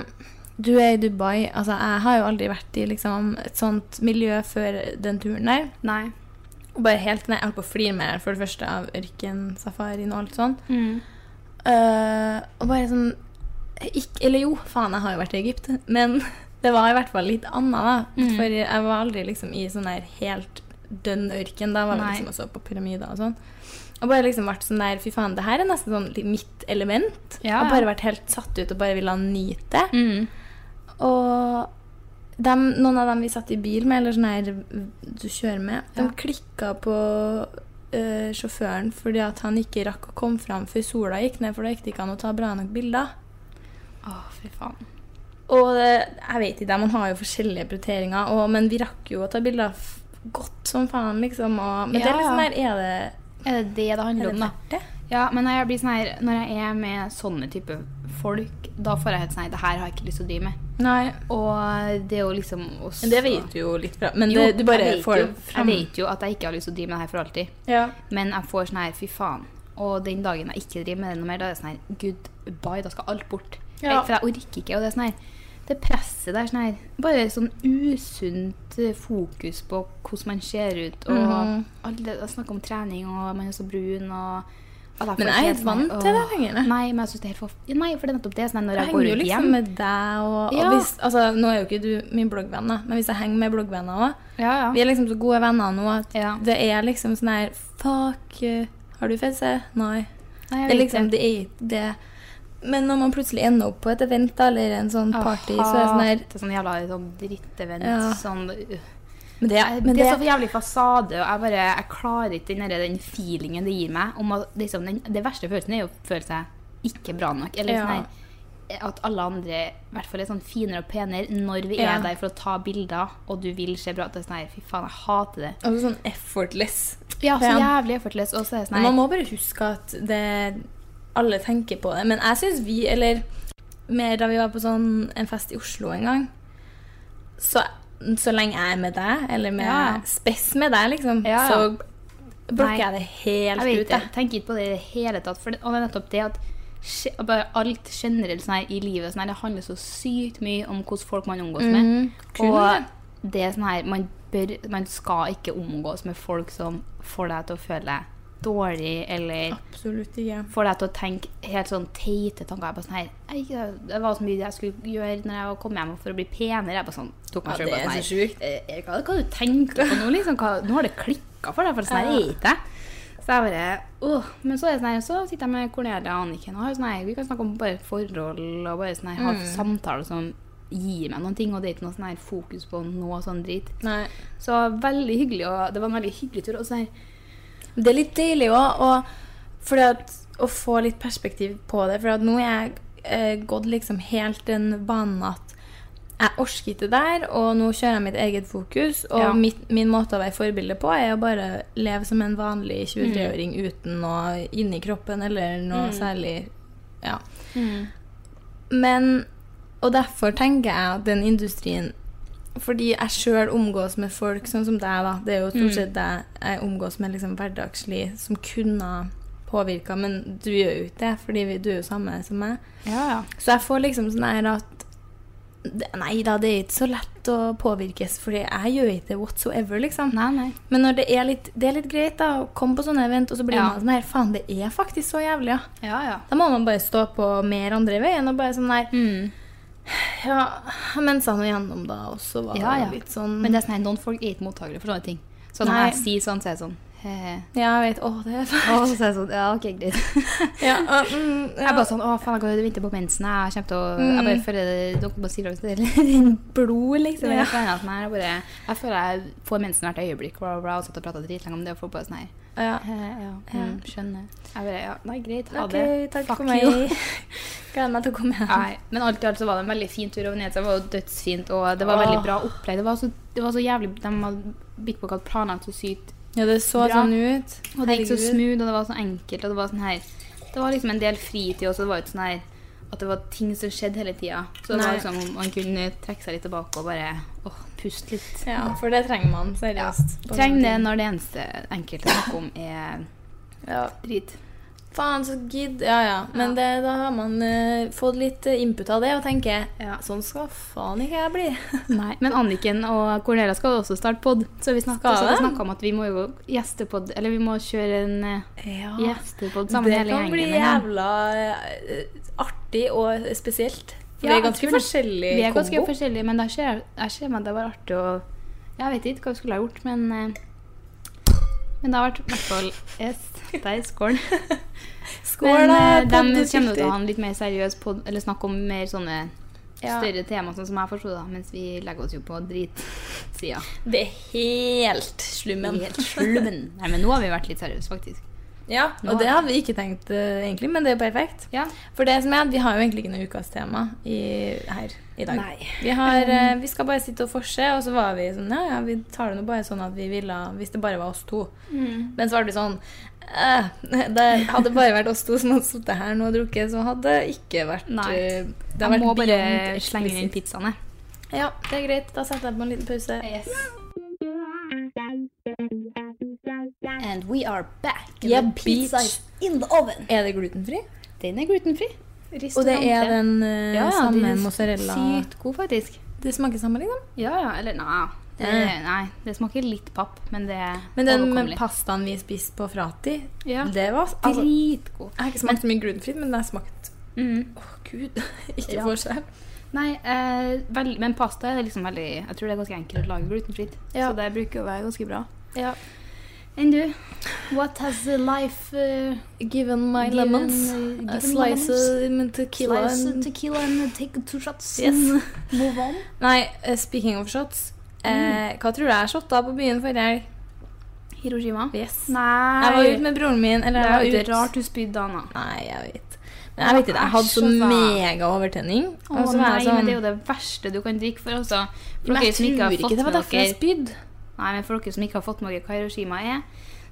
Du er i Dubai. Altså, jeg har jo aldri vært i liksom, et sånt miljø før den turen der.
Nei.
Og bare helt ned. Jeg holdt på å flire med deg for det første av ørkensafarien og alt sånn.
Mm.
Eh, og bare sånn ikk, Eller jo, faen, jeg har jo vært i Egypt. Men det var i hvert fall litt annet, da.
Mm.
For jeg var aldri liksom i sånn der helt dønn ørken. Da var vi
Nei.
liksom også på pyramider og sånn. Og bare liksom vært sånn der Fy faen, det her er nesten sånn litt mitt element.
Ja,
Og
ja.
bare vært helt satt ut og bare ville nyte det.
Mm.
Og dem, noen av dem vi satt i bil med, eller sånn her du kjører med, de
Ja.
klikka på eh, sjåføren fordi at han ikke rakk å komme fram før sola gikk ned, for da gikk det ikke an å ta bra nok bilder.
Å, fy faen.
Og det- jeg vet ikke, man har jo forskjellige prioriteringer, og, men vi rakk jo å ta bilder f godt som faen, liksom. Og, men det er
Ja.
liksom her, er det
Er det det det handler
er det
om, da?
verdt det?
Ja, men når jeg, blir sånn her, når jeg er med sånne type folk, da får jeg helt sånn her Det her har jeg ikke lyst til å drive med.
Nei.
Og det er jo liksom også,
Men det vet du jo litt fra. Men
Jo,
det, du bare
jeg vet
får
jo,
det fram.
Jeg vet jo at jeg ikke har lyst til å drive med det her for alltid.
Ja.
Men jeg får sånn her, fy faen. Og den dagen jeg ikke driver med det noe mer, da er det sånn her, goodbye, da skal alt bort.
Ja.
Jeg, for jeg orker ikke, og det er sånn her, det presset der, sånn her, bare sånn usunt eh, fokus på hvordan man ser ut, og
Mhm.
alle det- jeg snakker om trening, og man er så brun, og... at
Men jeg
får
er
helt
ikke
sånn her,
vant til det
åh,
lenger, nei.
Nei, men jeg synes det er helt for... Nei, for det er nettopp det, sånn her, når
Jeg
jeg går
henger jo
ut
liksom
hjem.
med deg og, og
Ja.
hvis, altså, Nå er jo ikke du min bloggvenn, da, men hvis jeg henger med bloggvenner òg
Ja, ja.
Vi er liksom så gode venner nå at
Ja.
det er liksom sånn her Fuck, eh, har du fese? Nei.
Nei, jeg
Det er
vet
liksom det er ikke det. Men når man plutselig ender opp på et event da, eller en sånn
Jeg
party, så er det sånn her
hater sånn jævla sånn drittevent,
Ja.
sånn... øh.
men det,
Jeg-
men
det
det,
er så jævlig fasade, og jeg bare, jeg klarer ikke den, derre- den feelingen det gir meg. Om at, liksom, den, det verste følelsen er jo å føle seg ikke bra nok. Eller
Ja.
sånn her, at alle andre i hvert fall er sånn finere og penere når vi er
Ja.
der for å ta bilder, og du vil se bra ut. Det er Sånn her, fy faen, jeg hater det.
altså sånn effortless.
Ja, så
Pen.
jævlig effortless. Og så er det sånn
Men Man
her
må bare huske at det, alle tenker på det. Men jeg syns vi, eller mer da vi var på sånn, en fest i Oslo en gang Så, så lenge jeg er med deg, eller med
Ja.
spess med deg, liksom,
Ja, ja.
så blokker
Nei.
jeg det
Jeg
helt
vet
ut.
ikke,
Jeg.
tenker ikke på det i det hele tatt. For det, og det er nettopp det at skje- bare alt generelt sånn her i livet sånn her, det handler så sykt mye om hvordan folk man omgås med.
Kun det.
Og det er sånn her man, bør, man skal ikke omgås med folk som får deg til å føle deg dårlig, eller
Absolutt ikke.
får deg til å tenke helt sånn teite tanker. Jeg bare sånn her «Ei, Det var så mye jeg skulle gjøre når jeg kom hjem for å bli penere. Jeg bare sånn tok meg
Ja,
selv
det
bare
er
sånn
så
her,
sjukt.
«Eh, Erika, Hva du tenker på nå, liksom? Hva, nå har det klikka for deg, for sånn her er ikke jeg. Så jeg bare åh, Men så er det sånn her, så sitter jeg med Cornelia og Anniken og har sånn her, vi kan snakke om bare forhold og bare sånn her,
Mm.
ha samtaler som gir meg noen ting, og det er ikke noe sånn her fokus på noe sånn drit.
Nei.
Så veldig hyggelig, og det var en veldig hyggelig tur. Og så her,
Det er litt deilig òg, og fordi at, å få litt perspektiv på det. For at nå er jeg eh, gått liksom helt den banen at jeg orker ikke det der, og nå kjører jeg mitt eget fokus. Og
Ja.
mitt, min måte å være forbilde på er å bare leve som en vanlig 23-åring uten noe inni kroppen eller noe særlig Ja. Men Og derfor tenker jeg at den industrien fordi jeg sjøl omgås med folk sånn som deg, da. Det er jo stort sett deg jeg omgås med liksom hverdagslig som kunne påvirka, men du gjør jo ikke det, fordi vi- du er jo samme som meg.
Ja, ja.
Så jeg får liksom sånn her at det- Nei da, det er ikke så lett å påvirkes, fordi jeg gjør ikke det whatsoever, liksom.
Nei, nei.
Men når det er litt, det er litt greit da, å komme på sånne event, og så blir
Ja.
man sånn her Faen, det er faktisk så jævlig, ja.
Ja, ja.
Da må man bare stå på mer andre veien og bare sånn der
Mm.
Ja, men sa noe gjennom da også, var
Ja,
det
ja.
litt sånn
Men det er sånn, her, noen folk er ikke mottagere for sånne ting. Så når
Nei.
jeg sier sånn, så er jeg sånn he-he.
Ja, jeg vet. Å, det er fælt.
Og så sier jeg sånn Ja, OK, greit.
Ja, å, mm,
Jeg
ja. Mm.
er bare sånn Å, faen, jeg går og venter på mensen. Jeg kommer til å Jeg bare føler det- Dere bare sier at det renner blod, liksom.
Ja.
Jeg, føler at den her, jeg, bare, jeg føler jeg får mensen hvert øyeblikk. Bla, bla, bla, og satt og prata dritlenge om det og får bare sånn her
ja.
he, ja, mm, Skjønner. Jeg bare Ja, nei, greit. Ha
OK,
det.
takk
Fuck
for meg.
you.
Gleder meg til å komme hjem.
Nei, men alt i alt så var det en veldig fin tur over Venezia. Det var jo dødsfint, og det var
Åh.
veldig bra opplegg. Det var så, det var så jævlig De hadde Big Book hadde planlagt så sykt,
Ja, det så
Bra.
sånn ut.
og det gikk så
Herregud.
smooth, og det var så enkelt, og det var sånn her Det var liksom en del fritid også, det var jo ikke sånn her at det var ting som skjedde hele tida. Så det var
Nei.
liksom om man kunne trekke seg litt tilbake og bare åh, puste litt.
Ja, for det trenger man seriøst. På
Trenger det
sånne
når det eneste enkelte snakker om, er
ting. Ja.
drit.
Faen, så gidd. Ja, ja. Men det, da har man eh, fått litt eh, input av det og tenker
Ja.
sånn skal faen ikke jeg bli.
Nei, Men Anniken og Cornelia skal jo også starte pod, så vi snakka
Skal de?
om at vi må jo gjestepod, eller vi må kjøre en eh,
Ja.
Gjestepod sammen
Det
hele
kan
gjengen.
bli
igjen.
jævla eh, artig og spesielt. For
Ja,
det
jeg
er ganske
tror det.
forskjellig
Vi er ganske
Eh, kombo.
forskjellige, men da ser jeg- jeg ser meg at det var artig å Jeg vet ikke hva vi skulle ha gjort, men eh, Men det har vært i hvert fall Yes, det er skål.
Skål,
men,
da!
eh, De kommer jo til å
poddesylter.
ha en litt mer seriøs pod, eller snakke om mer sånne
Ja.
større tema, sånn som jeg forsto det, mens vi legger oss jo på dritsida.
Det er helt slummen.
Helt slummen. Nei, men nå har vi vært litt seriøse, faktisk.
Ja, og det hadde vi ikke tenkt eh, egentlig, men det er perfekt.
Ja.
For det som er at vi har jo egentlig ikke noe ukas tema i, her i dag. Vi, har, eh, vi skal bare sitte og forse, og så var vi sånn Ja, ja, vi tar det nå bare sånn at vi ville Hvis det bare var oss to. Men så var det sånn eh, Det hadde bare vært oss to som hadde sittet her nå og drukket, så hadde det ikke vært
Nei.
eh, det hadde
Jeg må
vært
bare
beyond
slenge inn
explicit.
pizzaene.
Ja, det er greit. Da setter jeg på en liten pause.
And we are back.
Yeah,
The pizza
bitch.
is in the oven.
Er det glutenfri?
Den er glutenfri.
Og det er den eh, samme mozzarella
Sykt god, faktisk.
Det smaker samme, liksom?
Ja, ja. Eller nei. Det, nei. Det smaker litt papp, men det er
Men den med
overkommelig.
pastaen vi spiste på Frati,
Ja.
det var altså,
Dritgod.
Jeg har ikke smakt så mye glutenfritt, men det har smakt
Mm.
Åh, gud. ikke
Ja.
forskjell.
Nei, eh, vel, men pasta er liksom veldig Jeg tror det er ganske enkelt å lage glutenfritt.
Ja.
Så det bruker å være ganske bra.
Ja.
Enn du? What has the life uh,
Given my
Given,
lemons.
uh, given
a slice
lemons.
of tequila.
slice
and-
tequila and take two shots
Yes.
and move on?
Nei, eh, speaking of shots. Eh,
Mm.
hva tror du jeg shotta på byen forrige helg?
Hiroshima?
Yes.
Nei.
Jeg var ute med broren min. Eller
Det
jeg
er
var
jo
ute
ikke rart du spydde, Anna.
Nei, jeg vet. Men jeg vet ikke, jeg hadde
Æsj,
så
altså.
megaovertenning.
Å
og så var jeg
nei, Altså, men
sånn-
det er jo det verste du kan drikke for, altså. For
Men
dere
jeg
som ikke
tror
har
ikke
fått
det var
med
derfor jeg
dere-
spydde.
Nei, men for dere som ikke har fått med dere hva Hiroshima er,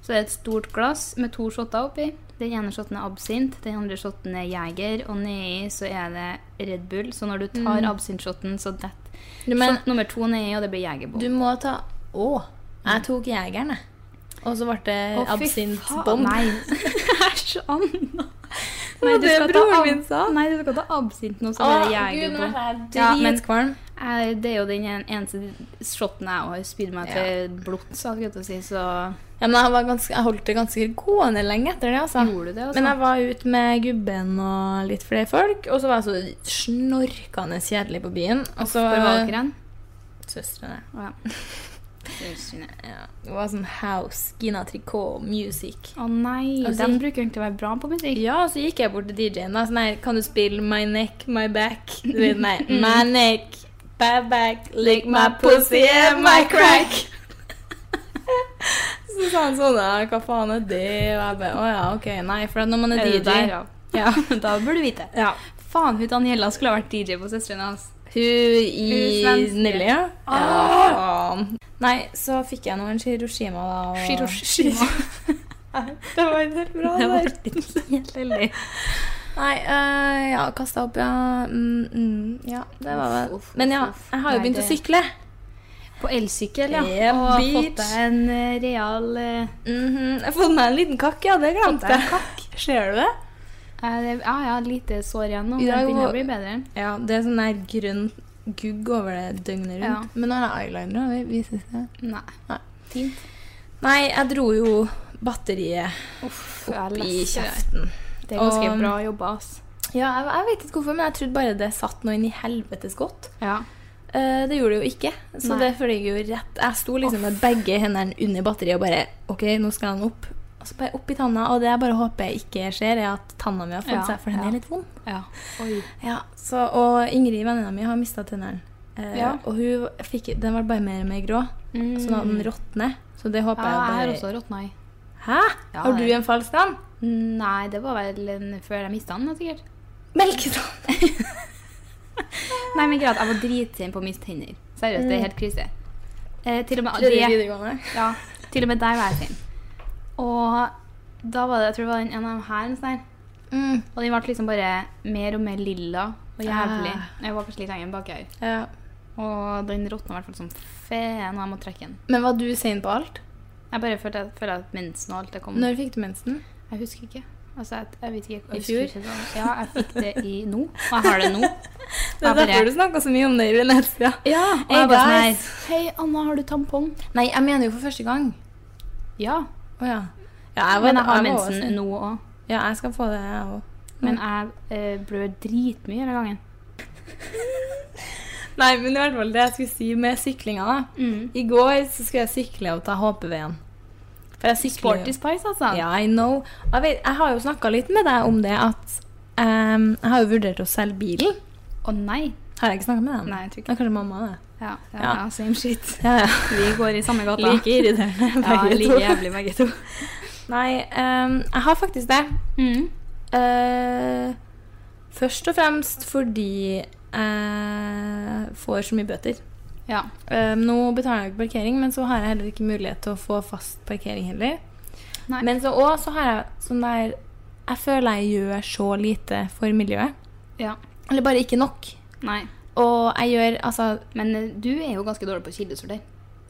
så er det et stort glass med to shotter oppi. Den ene shotten er absint, den andre shotten er jeger, og nedi så er det Red Bull. Så når du tar absintshotten, så detter
Mm. Du, men
shot nummer to nedi, og det blir jegerbom.
du må ta Å! Jeg tok jegeren, jeg. Og så ble det
Å, fy faen,
absintbånd.
Nei, æsj, Anna.
var
Nei, du
det
skal ta
broren
ab-
min sa.
Nei, du skal ta absint nå, så
Å,
blir det
gud, nå
jegerbom.
ble jeg
Ja, men-
dritkvalm.
Eh, Det er jo den en- eneste shoten jeg har spydd meg til blods, hadde jeg til å si, så
Ja, men jeg, var ganske, jeg holdt det ganske gående lenge etter det, altså.
Gjorde du det, altså?
Men jeg var ute med gubben og litt flere folk, og så var jeg så snorkende kjedelig på byen. Og så
Hvor var dere hen?
søstrene.
Å, ja. Søstrene.
Ja. Det var sånn house, Gina Tricot, music.
Å nei,
Altså,
de bruker jo egentlig å være bra på musikk.
Ja, så gikk jeg bort til DJ-en da, sånn her, kan du spille My Neck, My Back? Du vet, nei, My Neck, My Back, Mm. Lick My Pussy and My Crack. så sa han sånn, ja, hva faen er det? Og jeg bare, åja, ok, nei, for at når man er,
Er det
DJ...
der, ja?
ja.
Da burde du vite.
ja.
Faen, hun Daniela skulle ha vært DJ på søstrene hans.
Hun
Hun
i
svenske.
Nelly, ja? Ja,
Ah!
faen. Nei, så fikk jeg noen Hiroshima da. Og...
Hiroshima.
Det var helt bra
Det var
der.
helt heldig.
Nei, øh, ja, kasta opp, ja. Mm, mm, ja, det var
Uff,
det.
uff,
Men ja,
uff, uff.
jeg har jo
Nei,
begynt å
det-
sykle.
På elsykkel, ja.
Yeah,
og
bitch.
fått deg en eh, real eh,
Mhm, Jeg har fått meg en liten kakk, ja. Det glemte
Fått deg en
jeg. Ser du det?
eh, det- Ja, jeg har lite sår igjen nå.
I
men Det
dag
begynner
var-
å bli bedre.
Ja, det er sånn der grønn gugg over det døgnet
Ja.
rundt. Men nå har jeg eyeliner. og vi- Vises det?
Nei.
Nei.
Fint.
Nei, jeg dro jo batteriet
Uff, jeg er
i
lest det der.
kjeften.
Det er ganske
Og-
bra jobba, ass.
Ja, jeg, jeg vet ikke hvorfor, men jeg trodde bare det satt noe inn i helvetes godt.
Ja.
Eh, det gjorde det jo ikke, så
Nei.
det fløy jo rett Jeg sto liksom med begge hendene under batteriet og bare OK, nå skal den opp. Og så bare opp i tanna, og det jeg bare håper ikke skjer, er at tanna mi har fått
Ja,
seg, for den
ja.
er litt vond.
ja. Oi.
Ja, så, og Ingrid, venninna mi, har mista tennene. Eh,
Ja.
Og hun fikk, den ble bare mer og mer grå,
Mm.
sånn at den råtner. Så det håper
Ja, jeg har
jeg
også
bare
råtna i.
Hæ?
Ja,
har du
det-
en falsk tann?
Nei, det var vel en, før jeg mista den, da, sikkert.
Melketann!
Nei, men greit, jeg var dritsint på å miste tenner. Seriøst,
Mm.
det er helt krise. Eh, til, og med,
Tredje
det,
videregående.
ja, til og med der var jeg sint. Og da var det, jeg tror det var en- en av herrens der.
Mm.
Og den ble liksom bare mer og mer lilla og jævlig.
Ah.
Jeg var kanskje litt lenger bak her.
Ja.
Og den råtna i hvert fall som faen, og jeg måtte trekke den.
Men var du sein på alt?
Jeg bare følte, følte at mensen og alt det kom.
Når fikk du mensen?
Jeg husker ikke. Altså, jeg, jeg vet ikke.
I
Jeg
fjor?
husker ikke hva- ja, jeg fikk det i nå. Og jeg har det nå.
Det er
Jeg bare-
derfor du snakka så mye om det i Venezia.
Ja, og
Hey,
jeg bare sånn her
guys.
Hei, Anna, har du tampong?
Nei, jeg mener jo for første gang.
Ja.
Å ja. ja jeg var,
Men jeg har
var også-
mensen
Mm.
nå òg.
Ja, jeg skal få det, jeg òg.
Men jeg eh, blør dritmye hele gangen.
Nei, men i hvert fall det jeg skulle si med syklinga, da. I går så skulle jeg sykle og ta HPV-en. For jeg sykler jo-
Sporty Spice, altså.
Ja, I know. Og Jeg, vet, jeg har jo snakka litt med deg om det at ehm, Jeg har jo vurdert å selge bilen.
Å nei.
Har jeg ikke snakka med deg? om det?
Nei, jeg tror
Det er
ikke
kanskje mamma, det.
ja, ja,
Ja.
ja, Same shit.
Ja, ja.
Vi går i samme gata.
Like irriterende,
ja,
begge
like
to.
jævlig begge to.
Nei, ehm, jeg har faktisk det.
Mm.
Eh, først og fremst fordi jeg får så mye bøter.
Ja.
Eh, nå betaler jeg jo ikke parkering, men så har jeg heller ikke mulighet til å få fast parkering heller.
Nei.
Men så òg så har jeg sånn der Jeg føler jeg gjør så lite for miljøet.
ja.
Eller bare ikke nok.
Nei.
Og jeg gjør altså
Men eh, du er jo ganske dårlig på kildesorter.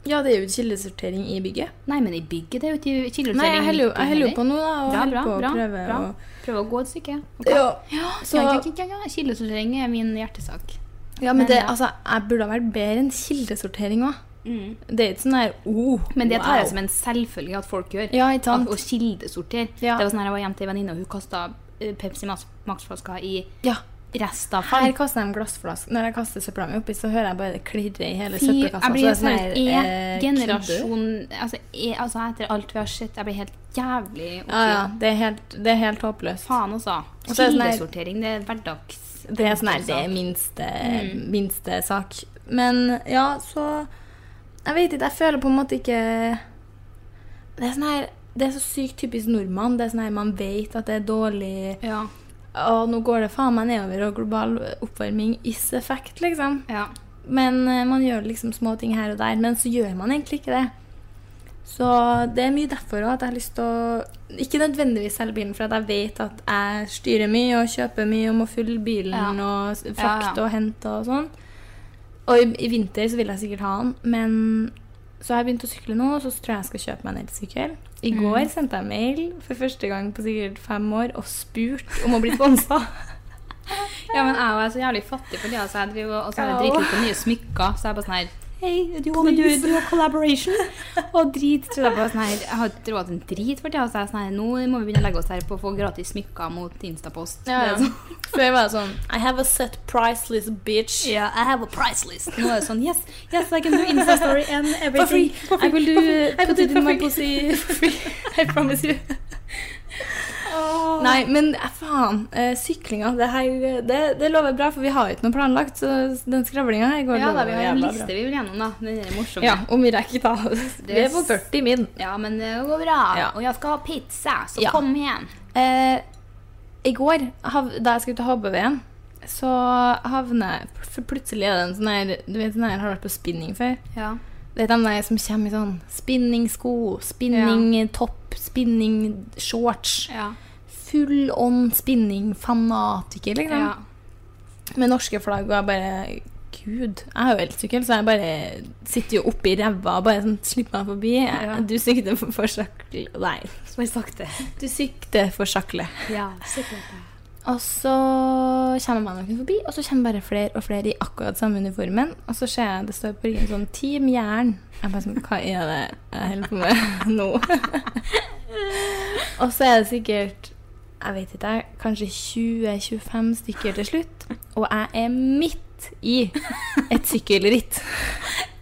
Ja, det er jo kildesortering i bygget.
Nei, men i bygget det er jo ikke kildesortering.
Nei, jeg heller jo-
midt i
jeg heller jo
heller.
på nå, da. Og
Ja,
holder
bra,
på å
bra,
prøve
bra.
å
Prøve å gå et stykke. Ok.
ja,
Ja, ja,
så,
ja, ja, ja. Kildesortering er min hjertesak.
ja, men det,
Men, ja.
altså, jeg burde ha vært bedre enn kildesortering òg. Det er ikke sånn der oh,
Mm. Men det tar jeg
wow.
som en selvfølgelig at folk gjør.
Ja, ikke sant?
At- Og kildesorter.
Ja.
Det var sånn her, Jeg var hjemme til en venninne, og hun kasta Pepsi Max- Max-flasker i
Ja. Her
restavfall.
kaster jeg en glassflaske. Når jeg kaster søpla mi oppi, så hører jeg bare det klirre i hele
Fy, jeg
søppelkassa. så
blir sånn
det er sånn
Er
her, eh, kødder du?
generasjon altså, er, altså, etter alt vi har sett, jeg blir helt jævlig oppgitt.
Ja, ja. Det er helt, det er helt håpløst.
Faen, altså.
Og så er det sånn her-
Kildesortering, det er hverdags...
Det er sånn her, det er minste, minste sak. Men ja, så Jeg vet ikke, jeg føler på en måte ikke Det er sånn her det er så sykt typisk nordmann. Det er sånn her, Man vet at det er dårlig
Ja.
Og nå går det faen meg nedover, og global oppvarming is effect, liksom.
ja.
Men eh, man gjør liksom små ting her og der. Men så gjør man egentlig ikke det. Så det er mye derfor òg at jeg har lyst til å Ikke nødvendigvis selge bilen, for at jeg vet at jeg styrer mye og kjøper mye og må fylle bilen
Ja.
og s-
Ja, ja.
frakte og hente og sånn. Og i, i vinter så vil jeg sikkert ha den, men så har jeg begynt å sykle nå, og så tror jeg jeg skal kjøpe meg en elsykkel. I går sendte jeg mail for første gang på sikkert fem år og spurt om å bli sponsa.
Ja, men jeg er så jævlig fattig for det, altså. Jeg driver, og så har jeg
Ja.
dritlyst på nye smykker, så jeg er bare sånn her
Hei, du
a collaboration? og drit, tror jeg bare sånn her Jeg har ikke råd til en drit for tida, så jeg er sånn her Nå må vi begynne å legge oss her på å få gratis smykker mot Instapost.
Ja,
Det er
ja.
sånn-
Før jeg var sånn I have a set price list, bitch.
Yeah, I have a price list. Nå er det sånn Yes, yes, I can do Insta story and everything.
For free,
I will do
for free. I will
put
do
it in
for
my
free.
pussy.
For free. I promise you. Nei, men eh, faen. eh, Syklinga, det, her, eh, det, det lover bra, for vi har jo ikke noe planlagt. Så den skravlinga her går
Ja da,
lover
vi har en
jævla
liste
bra.
vi vil gjennom, da. Den er morsom.
Ja, om vi rekker, da. Vi er på 40 min.
Ja, men det går bra.
Ja.
Og jeg skal ha pizza, så
Ja.
kom igjen.
Eh, I går, hav, da jeg skulle til HBV-en, så havner jeg pl- Plutselig er det en sånn her Du vet den her har vært på spinning før?
Ja.
Det er de der som kommer i sånn spinningsko, spinningtopp, spinningshorts.
Ja.
Full on spinning-fanatiker, liksom.
ja.
Med norske flagg og jeg bare Gud, jeg har jo elsykkel, så jeg bare sitter jo oppi ræva og bare sånn slipper meg forbi.
Ja.
Du sikter for, for sakle Nei,
Bare sakte.
du sikter for sakle.
Ja, sikkert.
Og så kommer man noen forbi, og så kommer bare flere og flere i akkurat samme uniformen. Og så ser jeg det står på ryggen sånn 'Team Jern'. Jeg bare sånn Hva er det jeg holder på med nå? og så er det sikkert jeg vet ikke, jeg, kanskje 20-25 stykker til slutt. Og jeg er midt i et sykkelritt.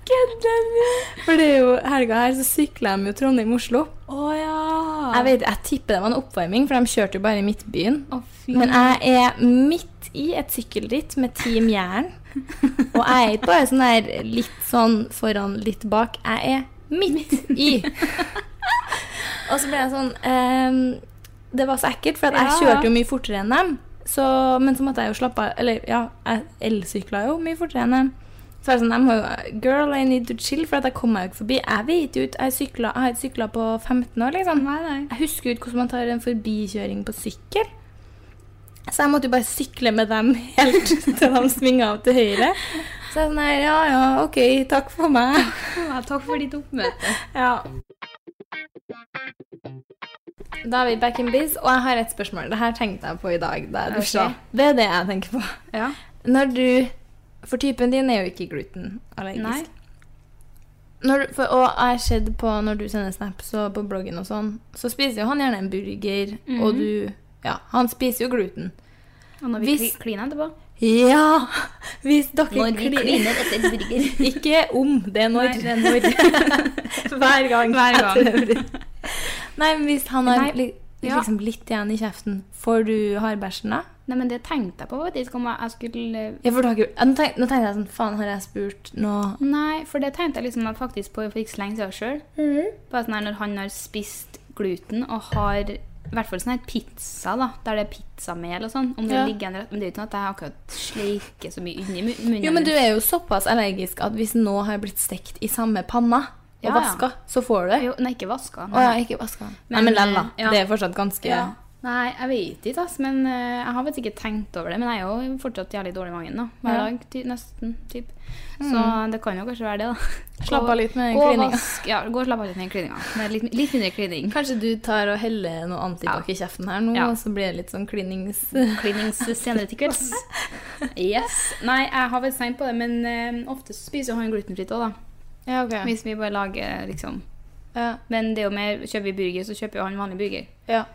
Kødder du? For det er jo helga her, så sykler de jo Trondheim-Oslo.
Å ja.
Jeg vet, jeg tipper det var en oppvarming, for de kjørte jo bare i Midtbyen.
Å, fy.
Men jeg er midt i et sykkelritt med Team Jern. Og jeg er ikke bare sånn der litt sånn foran, litt bak. Jeg er midt i. Og så ble jeg sånn ehm, Det var så ekkelt, for at jeg
Ja, ja.
kjørte jo mye fortere enn dem. Så, men så måtte jeg jo slappe av Eller ja, jeg elsykla jo mye fortere enn dem. Så er det sånn, de må jo Girl, I need to chill, for at jeg kom meg jo ikke forbi. Jeg vet jo ikke, jeg sykla- jeg har ikke sykla på 15 år, liksom.
Nei, nei.
Jeg husker jo ikke hvordan man tar en forbikjøring på sykkel. Så jeg måtte jo bare sykle med dem helt til de svinga av til høyre. Så jeg sånn her, ja ja, ok, takk for meg.
Ja, takk for ditt oppmøte.
Ja. Da er vi back in biz, og jeg har et spørsmål. Det her tenkte jeg på i dag da jeg dusja.
Ok.
Det er det jeg tenker på.
Ja.
Når du For typen din er jo ikke glutenallergisk.
Nei.
Når, du- for, og jeg har sett på når du sender snaps og på bloggen og sånn, så spiser jo han gjerne en burger, og du Ja, han spiser jo gluten.
Og når vi
Hvis-
kli- kliner etterpå.
Ja! Hvis dere klin-
etter burger.
Ikke om, det er når.
Nei, det er når. Hver gang. Hver gang.
Etter det blir- Nei, men hvis han har
Nei,
li,
ja.
liksom litt igjen i kjeften, får du hardbæsjen da?
Nei, men det tenkte jeg på, faktisk, om jeg- jeg skulle eh,
Ja, for du har ikke, ja, nå, tenk, nå tenkte jeg sånn, faen har jeg spurt nå?
Nei, for det tenkte jeg liksom at faktisk på for ikke så lenge siden sjøl. Bare sånn her når han har spist gluten og har i hvert fall sånn her pizza, da, der det er pizzamel og sånn. Om det
Ja.
ligger en rett Men det er jo ikke noe at jeg akkurat sleiker så mye inni mu- munnen.
Jo, men du er jo såpass allergisk at hvis nå har blitt stekt i samme panna og
Ja, ja.
vaska, så får du det.
Jo, Nei, ikke vaska.
Å ja, ikke vaska. Nei,
Men,
men eh, lell da.
ja.
Det er fortsatt ganske...
Ja. Nei, jeg vet ikke, ass, men eh, jeg har faktisk ikke tenkt over det. Men jeg er jo fortsatt jævlig dårlig i magen da. hver
Ja. Mm.
dag. Ty nesten. Typ. Så det kan jo kanskje være det, da.
Slapp
Gå-
av litt med den
gå og
klininga.
vask- Ja, gå og slapp av litt med den klininga. Det er litt, litt mindre klining.
Kanskje du tar og heller noe antibac
Ja.
i kjeften her nå,
Ja.
og så blir det litt sånn klinings...
Klinings senere til kvelds. Yes. Nei, jeg har vel tenkt på det, men eh, ofte så spiser jo han glutenfritt òg, da.
Ja, ok.
Hvis vi bare lager, liksom.
Ja,
Men det er jo mer Kjøper vi burger, så kjøper jo han vanlig burger. Eh,
ja.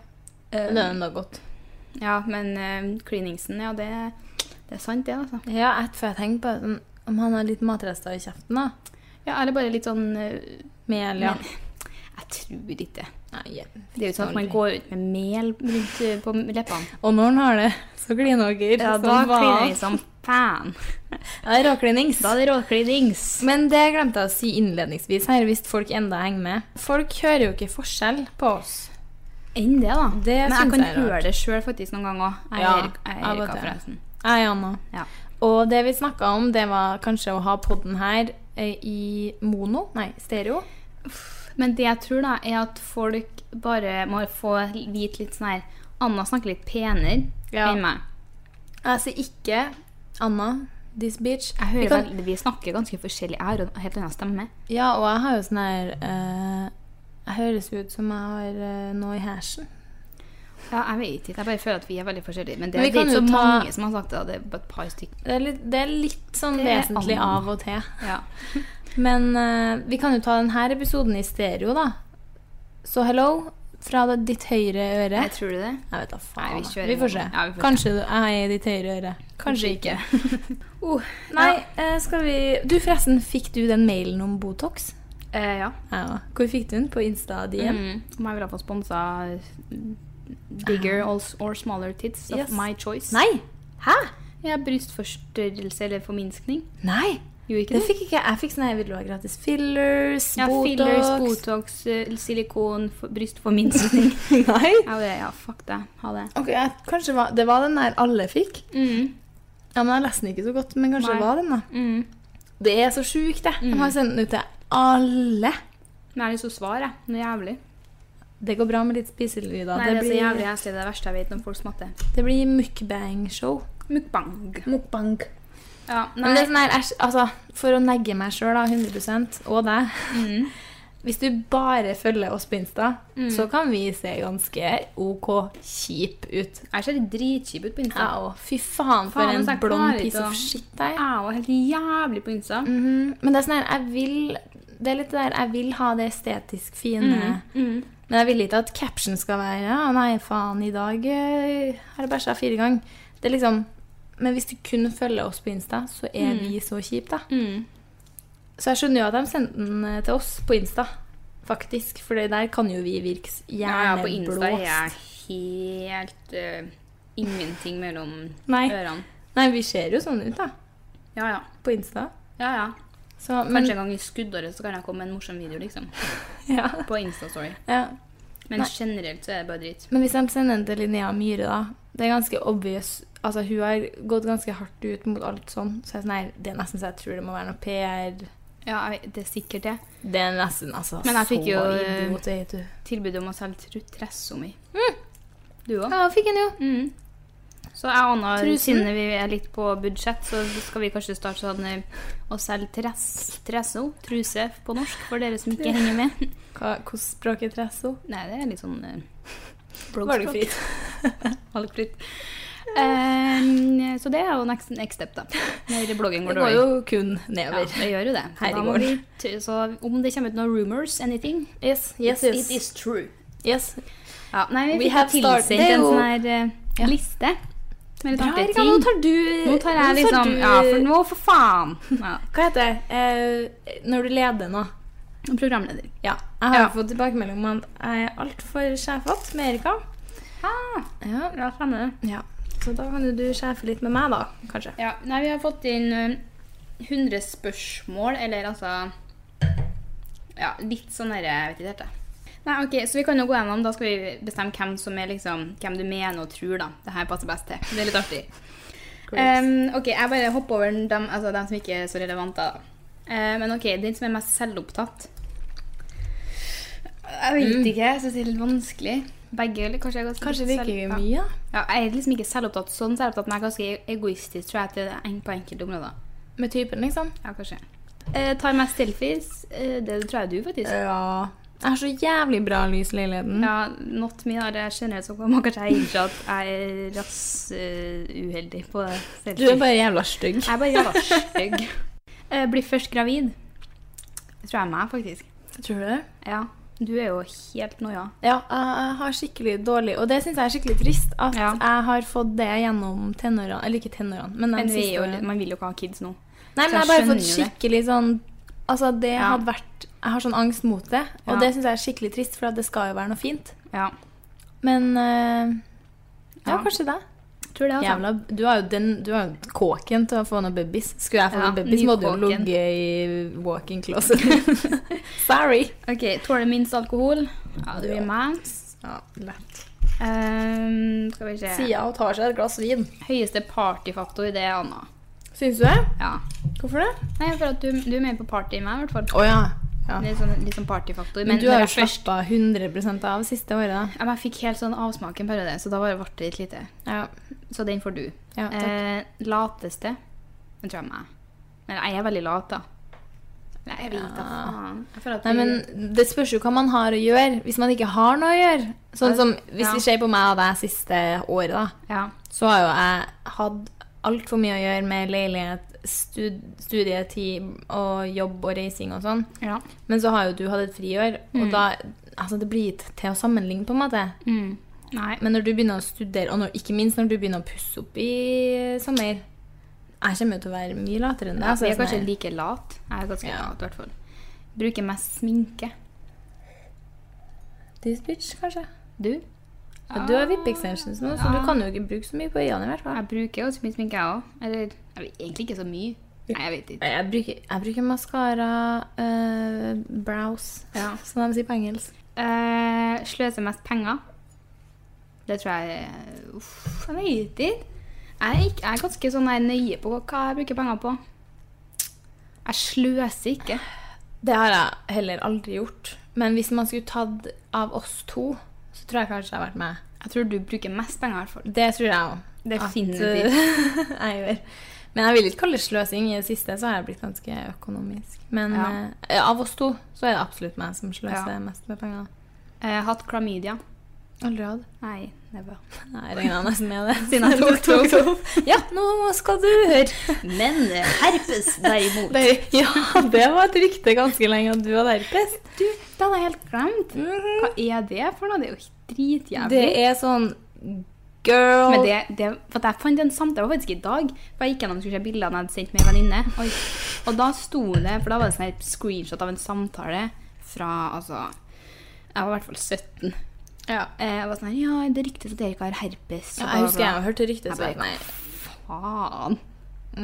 Det er enda godt.
Ja, men eh, kliningsen, ja, det, det er sant, det, altså.
Ja, jeg tror jeg tenker på sånn, om han har litt matrester i kjeften, da.
Ja, eller bare litt sånn eh,
Mel,
ja.
ja.
Jeg tror ikke det.
Nei, jeg
Det er jo
fikser
sånn at man
aldri.
går ut med mel rundt eh, på leppene.
Og når han har det, så kliner dere.
Ja,
som
da
faen.
kliner vi som fan.
Ja, det er råklinings.
Da er det råklinings.
Men det glemte jeg å si innledningsvis her, hvis folk enda henger med. Folk hører jo ikke forskjell på oss.
Enn det, da.
Det
Men jeg
synes
kan
jeg er
høre
rart.
det sjøl faktisk noen ganger òg. Jeg
Ja,
er Erik- jeg er
av og
Erika,
til.
forresten.
Jeg er Anna.
Ja.
Og det vi snakka om, det var kanskje å ha podden her eh, i mono, nei, stereo.
Men det jeg tror, da, er at folk bare må få vite litt sånn her Anna snakker litt penere
Ja.
enn meg.
Jeg sier ikke Anna, this bitch.
Jeg
Vi
hører
kan-
vel, vi snakker ganske forskjellig. Jeg har en helt annen stemme.
Ja, og jeg har jo sånn her eh, Jeg høres jo ut som jeg har eh, noe i hersen.
Ja, jeg vet ikke. Jeg bare føler at vi er veldig forskjellige. Men det,
Men vi
det er
kan
ikke så
jo ta-
mange som har sagt det. Det er bare et par stykker.
Det er litt, det er litt sånn
Det er
vesentlig
Anna.
av og til.
Ja.
Men eh, vi kan jo ta denne episoden i stereo, da. Så hello fra det- ditt høyre øre.
Jeg tror du det?
Jeg vet da faen.
Nei, vi
jeg.
kjører
får se.
mono. Ja, vi får
Kanskje du er i ditt høyre øre. Kanskje ikke.
Uh,
Nei,
ja.
eh, skal vi Du, forresten, fikk du den mailen om Botox?
Eh, ja.
Ja. Hvor fikk du den? På Insta-DM?
Mm. Om jeg ville få sponsa mm, bigger or, or smaller tits of
Yes.
my choice.
Nei! Hæ?
Ja, brystforstørrelse eller forminskning.
Nei!
Gjorde ikke
Det
du?
fikk ikke jeg. Jeg fikk sånn her, vil du ha gratis fillers,
Ja,
Botox
fillers, Botox, eh, silikon, for, brystforminskning.
Nei.
ja, det, ja, fuck det. Ha det.
Ok, jeg, kanskje var, Det var den der alle fikk.
Mm.
Ja, men Jeg leste den ikke så godt, men kanskje
Nei.
det var den, da.
Mm.
Det er så sjukt, det. De har sendt den ut til alle.
Men jeg har lyst til å svare, jeg. Noe jævlig.
Det går bra med litt spiselyder.
Nei, det,
det,
er så jævlig
blir,
heslig. Det er det verste jeg vet når folk smatter.
det blir mukbang-show.
Mukbang.
Mukbang.
Ja,
Men det er
nei.
sånn her, æsj, altså, For å negge meg sjøl, 100 og deg
mm.
Hvis du bare følger oss på Insta, så kan vi se ganske OK kjip ut.
Jeg ser dritkjip ut på Insta.
Ja, og fy faen, for
Faen, altså,
en
jeg
blond
klarer ikke
piece
å-
of shit der.
Jeg var helt jævlig på Insta.
Mhm. Men det er sånn her, jeg vil Det er litt det der Jeg vil ha det estetisk
Mm.
fine. Men jeg vil ikke at caption skal være Ja, nei, faen, i dag eh, har jeg bæsja fire ganger. Det er liksom Men hvis du kun følger oss på Insta, så er
Mm.
vi så kjipe, da. Så jeg skjønner jo at de sendte den eh, til oss på Insta, faktisk. For det der kan jo vi virke s-
Ja, ja, på Insta er jeg
hjerneblåst.
helt eh, ingenting mellom
Nei.
ørene.
Nei, vi ser jo sånn ut, da.
Ja, ja.
På Insta.
ja, ja.
Så,
Kanskje
men,
en gang i skuddåret så kan jeg komme med en morsom video, liksom.
ja,
På Insta-story.
ja.
Men
Nei.
generelt så er det bare dritt.
Men hvis de sender den til Linnea Myhre, da Det er ganske obvious. Altså, hun har gått ganske hardt ut mot alt sånn. Så jeg, er sånn, her, det er nesten så jeg tror det må være noe PR.
Ja, jeg vet- det er sikkert det.
Det er nesten altså
Men jeg fikk
så
jo, eh,
idiot er du.
Tilbudet om å selge trutresso mi. Mm. Du òg.
Ja, fikk en jo.
Mm. Så jeg og Anna,
Trusen.
siden vi er litt på budsjett, så skal vi kanskje starte sånn eh, å selge tress, tresso, truse på norsk, for dere som ikke henger med.
Hva, hvordan språk er tresso?
Nei, det er litt sånn eh,
Valgfritt.
Valgfritt. Eh, så det er jo next, next step, da. Når bloggen
Det
går
går
dårlig.
jo kun
Ja,
nedover.
det gjør jo det. Så,
Her i
da må
går.
vi t- så om det kommer ut noen rumors, anything
Yes, yes,
it's-
yes.
It is true.
yes.
Ja, nei,
We
vi fikk
have started.
tilsendt
Det er
en
jo-
sånn her eh,
Ja.
liste. Med litt
Bra,
artige
Erika, nå
ting.
tar du
Nå tar jeg
nå tar
liksom
du-
Ja, for nå, for faen! Ja.
Hva heter det? Eh, når du leder nå.
Programleder.
Ja. Jeg har
Ja.
fått tilbakemelding om at jeg er altfor sjefete med Erika.
Ah,
Ja.
ja, spennende.
ja. Så da kan jo du sjefe litt med meg, da, kanskje.
Ja, nei, vi har fått inn eh, 100 spørsmål, eller altså Ja, litt sånn derre Jeg vet ikke helt, jeg. Nei, OK, så vi kan jo gå gjennom. Da skal vi bestemme hvem som er liksom Hvem du mener og tror, da. Det her passer best til. Det er litt artig. Em, OK, jeg bare hopper over dem, altså, dem som ikke er så relevante, da. Eh, men OK, den som er mest selvopptatt Jeg vet ikke. Jeg syns det er litt vanskelig. Begge, eller kanskje jeg er ganske
Mm. Kanskje
litt
virker vi
selv- ja.
mye, da.
Ja, jeg er liksom ikke selvopptatt sånn selvopptatt, men jeg er ganske egoistisk, tror jeg, til en- på enkelte områder.
Med typen, liksom.
Ja, kanskje. Eh, tar mest selfies. Eh, det tror jeg du, faktisk.
Ja. Jeg har så jævlig bra lys i leiligheten.
Ja, not me, da. Det generelt så kan man kanskje innse at jeg er rass eh, uheldig på selfies.
Du er bare jævla stygg.
Jeg er bare jævla stygg. Eh, blir først gravid. Det tror jeg er meg, faktisk.
Tror du det?
Ja. Du er jo helt noia.
Ja, jeg jeg har skikkelig dårlig Og det syns jeg er skikkelig trist at
Ja.
jeg har fått det gjennom tenårene. Eller ikke tenårene, men de
Men vi
siste
er jo,
årene.
man vil jo ikke ha kids nå.
Nei, men
så
jeg
jeg
har bare fått
skjønner jo det.
skikkelig sånn Altså, det
Ja.
hadde vært Jeg har sånn angst mot det, og
Ja.
det syns jeg er skikkelig trist, for at det skal jo være noe fint.
Ja.
Men eh, ja,
Ja.
kanskje det.
Tror det, altså.
Jævla, du har jo den Du har jo kåken til å få noen babies. Skulle jeg få
Ja,
noen babies, må du jo
nykåken.
ligge i walking closet. Sorry.
OK, tåler minst alkohol. Ja, du
Ja.
er meg.
Ja, lett.
Ehm, skal vi se
Sia og tar seg et glass vin.
Høyeste partyfaktor, det er Anna.
Syns du det?
Ja.
Hvorfor det?
Nei, for at du, du er mer på party enn meg, i hvert fall.
Å ja. ja.
Litt sånn, litt sånn partyfaktor.
Men du
når
har jo
jeg først-
slappa 100 av siste året,
Ja, men jeg fikk helt sånn avsmak en periode, så da var det vart det litt lite.
da. Ja.
Så den får du.
Ja, takk.
eh, lateste Den tror jeg er meg. Men jeg er veldig lat, da. Nei, jeg vet da faen. Jeg føler at
Nei, men Det spørs jo hva man har å gjøre. Hvis man ikke har noe å gjøre Sånn som Hvis
Ja.
det skjer på meg og deg siste året, da,
Ja.
så har jo jeg hatt altfor mye å gjøre med leilighet, stud studietid og jobb og reising og sånn.
ja.
Men så har jo du hatt et friår, og da Altså, det blir ikke til å sammenligne, på en måte.
Nei.
Men når du begynner å studere, og når, ikke minst når du begynner å pusse opp i sommer Jeg kommer jo til å være mye latere enn deg.
Altså, jeg er
sånn
kanskje
her.
like lat. Jeg er ganske
Ja.
lat, i hvert fall. Bruker mest sminke.
This bitch, kanskje.
Du?
Men Du har vippe-extensions nå, så du kan jo ikke bruke så mye på øynene. i hvert fall.
Jeg bruker jo så mye sminke, jeg òg. Eller jeg vet, egentlig ikke så mye. Nei, jeg vet ikke.
Jeg bruker, jeg bruker maskara, eh, brows,
Ja.
som de sier på engelsk.
Eh, sløser mest penger. Det tror jeg eh, Uff, jeg vet ikke. Jeg er, ikke, jeg er ganske sånn her nøye på hva jeg bruker penger på. Jeg sløser ikke.
Det har jeg heller aldri gjort. Men hvis man skulle tatt av oss to, så tror jeg kanskje jeg har vært med.
Jeg tror du bruker mest penger, i hvert fall.
Det tror jeg òg.
Definitivt.
jeg gjør. Men jeg vil ikke kalle det sløsing. I det siste så har jeg blitt ganske økonomisk. Men
Ja.
eh, av oss to så er det absolutt meg som sløser
Ja.
mest med penger.
Jeg har Eh, hatt klamydia.
Aldri hatt.
Nei, never.
Nei, jeg regna nesten med det.
Siden jeg tok det opp.
Ja, nå skal du høre.
Men eh, herpes, derimot.
Ja, det var et rykte ganske lenge at du hadde herpes.
Du, det hadde jeg helt glemt. Hva er det for noe? Det er jo dritjævlig.
Mhm. Det er sånn girl
Men det, det, for at jeg fant en samtale, det var faktisk i dag. For jeg gikk gjennom skulle se bildene jeg hadde sendt med en venninne. Oi. Og da sto det, for da var det sånn her screenshot av en samtale fra altså Jeg var i hvert fall 17.
Ja.
Eh, Jeg var sånn her Ja, det ryktes at Erika har herpes. og
Ja,
bla,
jeg husker
bla,
jeg har hørt ryktet.
Jeg
så
bare,
jeg- Nei,
Faen.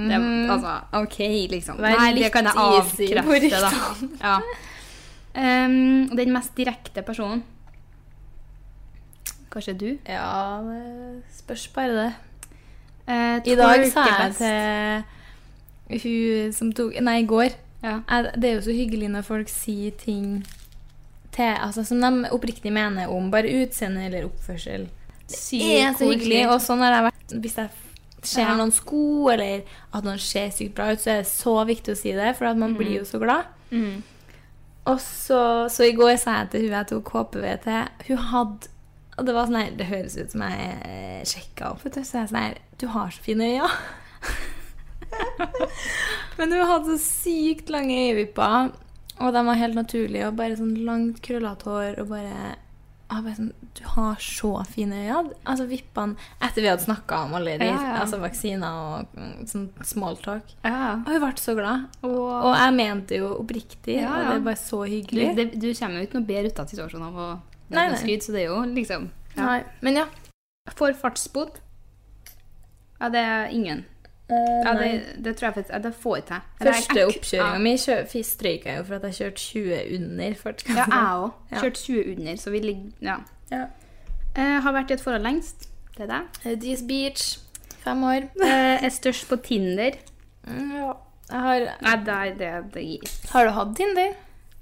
Det, altså, OK, liksom.
Vær
Nei, det
litt
kan jeg
easy på
avkrefte, da. Ja. Ehm, den mest direkte personen Kanskje du?
Ja, det spørs bare det.
Eh,
I dag sa jeg
twerkefest.
til hun som tok Nei, i går.
Ja.
Jeg, det er jo så hyggelig når folk sier ting til, altså, som de oppriktig mener om bare utseende eller oppførsel.
Sykt
Det er så hyggelig.
koselig.
Og sånn har jeg vært. Hvis jeg ser
Ja.
noen sko, eller at noen ser sykt bra ut, så er det så viktig å si det, for at man blir jo så glad.
Mm.
Og så, så i går sa jeg til hun jeg tok HPV til, hun hadde og det var sånn her, det høres ut som jeg eh, sjekka opp. vet du, Så jeg er sånn her Du har så fine øyne. Men hun hadde så sykt lange øyevipper. Og de var helt naturlige. Og bare sånn langt, krøllete hår. Og bare, jeg bare sånn, Du har så fine øyne. Altså vippene Etter vi hadde snakka om alle de,
Ja, ja.
Altså, vaksiner og mm, sånn smalltalk.
Ja.
Og hun ble så glad.
Og,
Og jeg mente jo oppriktig.
Ja,
Og
ja.
det er bare så
du,
hyggelig.
det, du kommer jo ikke noe bedre ut av situasjonen av å
Nei, nei.
skryte, så det er jo liksom ja.
Nei, Men ja.
For fartsbot? Ja, det er ingen. Ja, det, det tror jeg faktisk ja, Det får jeg til. Eller Eh, jeg-
Første
jeg-
oppkjøringa mi strøyka jeg jo for at jeg kjørte 20 under
Ja,
fartsgrensa.
jeg òg.
Ja.
Kjørt 20 under, så vi ligger Ja.
Ja.
Eh, har vært i et forhold lengst. Det er deg.
Dees Beach. Fem år.
Eh, er størst på Tinder.
Ja. Jeg har,
Nei, det er det det gir.
har du hatt Tinder?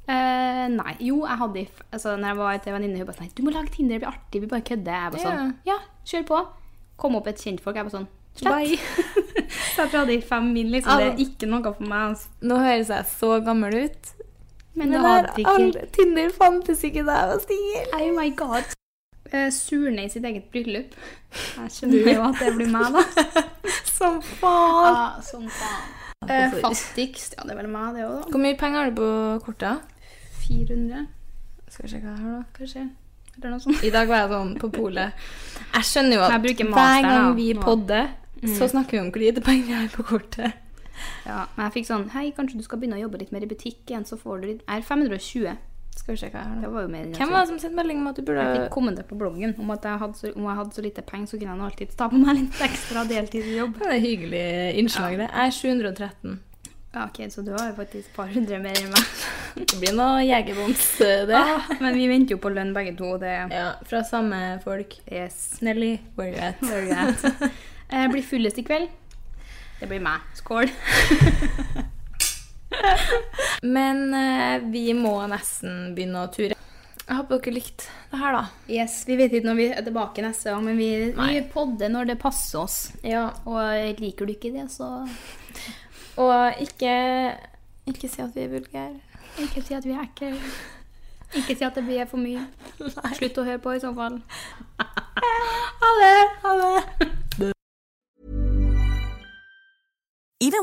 Eh, nei. Jo, jeg hadde i f- altså, Når jeg var til en venninne, hun bare sånn «Nei, Du må lage Tinder, det blir artig. Vi bare kødder. Jeg bare sånn Ja, kjør på. Kom opp et kjentfolk. Jeg bare sånn Slett. så jeg tror jeg hadde i fem min, liksom. Det er ikke noe for meg. Altså.
Nå høres jeg så gammel ut. Men
Men, det
her,
hadde ikke
all, Tinder fantes ikke da jeg var singel.
Oh my god. Eh, surne i sitt eget bryllup. Jeg skjønner jo at det blir meg, da.
Som faen.
sånn faen. Eh, Fastigst. Ja, det er vel meg, det òg, da.
Hvor mye penger har du på kortet?
400,
Skal vi sjekke det her, da.
kanskje. Eller noe sånt.
I dag var jeg sånn på polet. Jeg skjønner jo at
Jeg bruker
hver
master,
gang
da,
vi
nå.
podder, så snakker vi om hvor lite penger Mm. jeg har på kortet.
Ja, men jeg fikk sånn Hei, kanskje du skal begynne å jobbe litt mer i butikk igjen, så får du litt Jeg er 520.
Skal vi sjekke det
Det
her, da.
var jo mer enn jeg
Hvem
trodde.
var det som sendte melding om at du burde
Jeg fikk kommende på bloggen om at jeg hadde så, om jeg hadde så lite penger, så kunne jeg nå alltid ta på meg litt ekstra deltidsjobb.
Det er et hyggelig innslag, det. Jeg er 713.
Ja, ok, så du har jo faktisk et par hundre mer enn meg.
Det blir noe jegerboms, det.
Ah, men vi venter jo på lønn begge to, og det
Ja, fra samme folk.
Yes.
Nelly, where you at?
Very right. Eh, blir fullest i kveld. Det blir meg. Skål.
Men eh, vi må nesten begynne å ture. Jeg håper dere likte det her, da.
Yes, Vi vet ikke når vi er tilbake neste gang, men vi, vi
Nei.
podder når det passer oss.
Ja.
Og eh, liker du ikke det, så
Og ikke ikke si at vi er vulgære.
ikke si at vi er ekle. Ikke si at det blir for mye. Slutt å høre på, i så fall.
Ha det! Ha det!
Even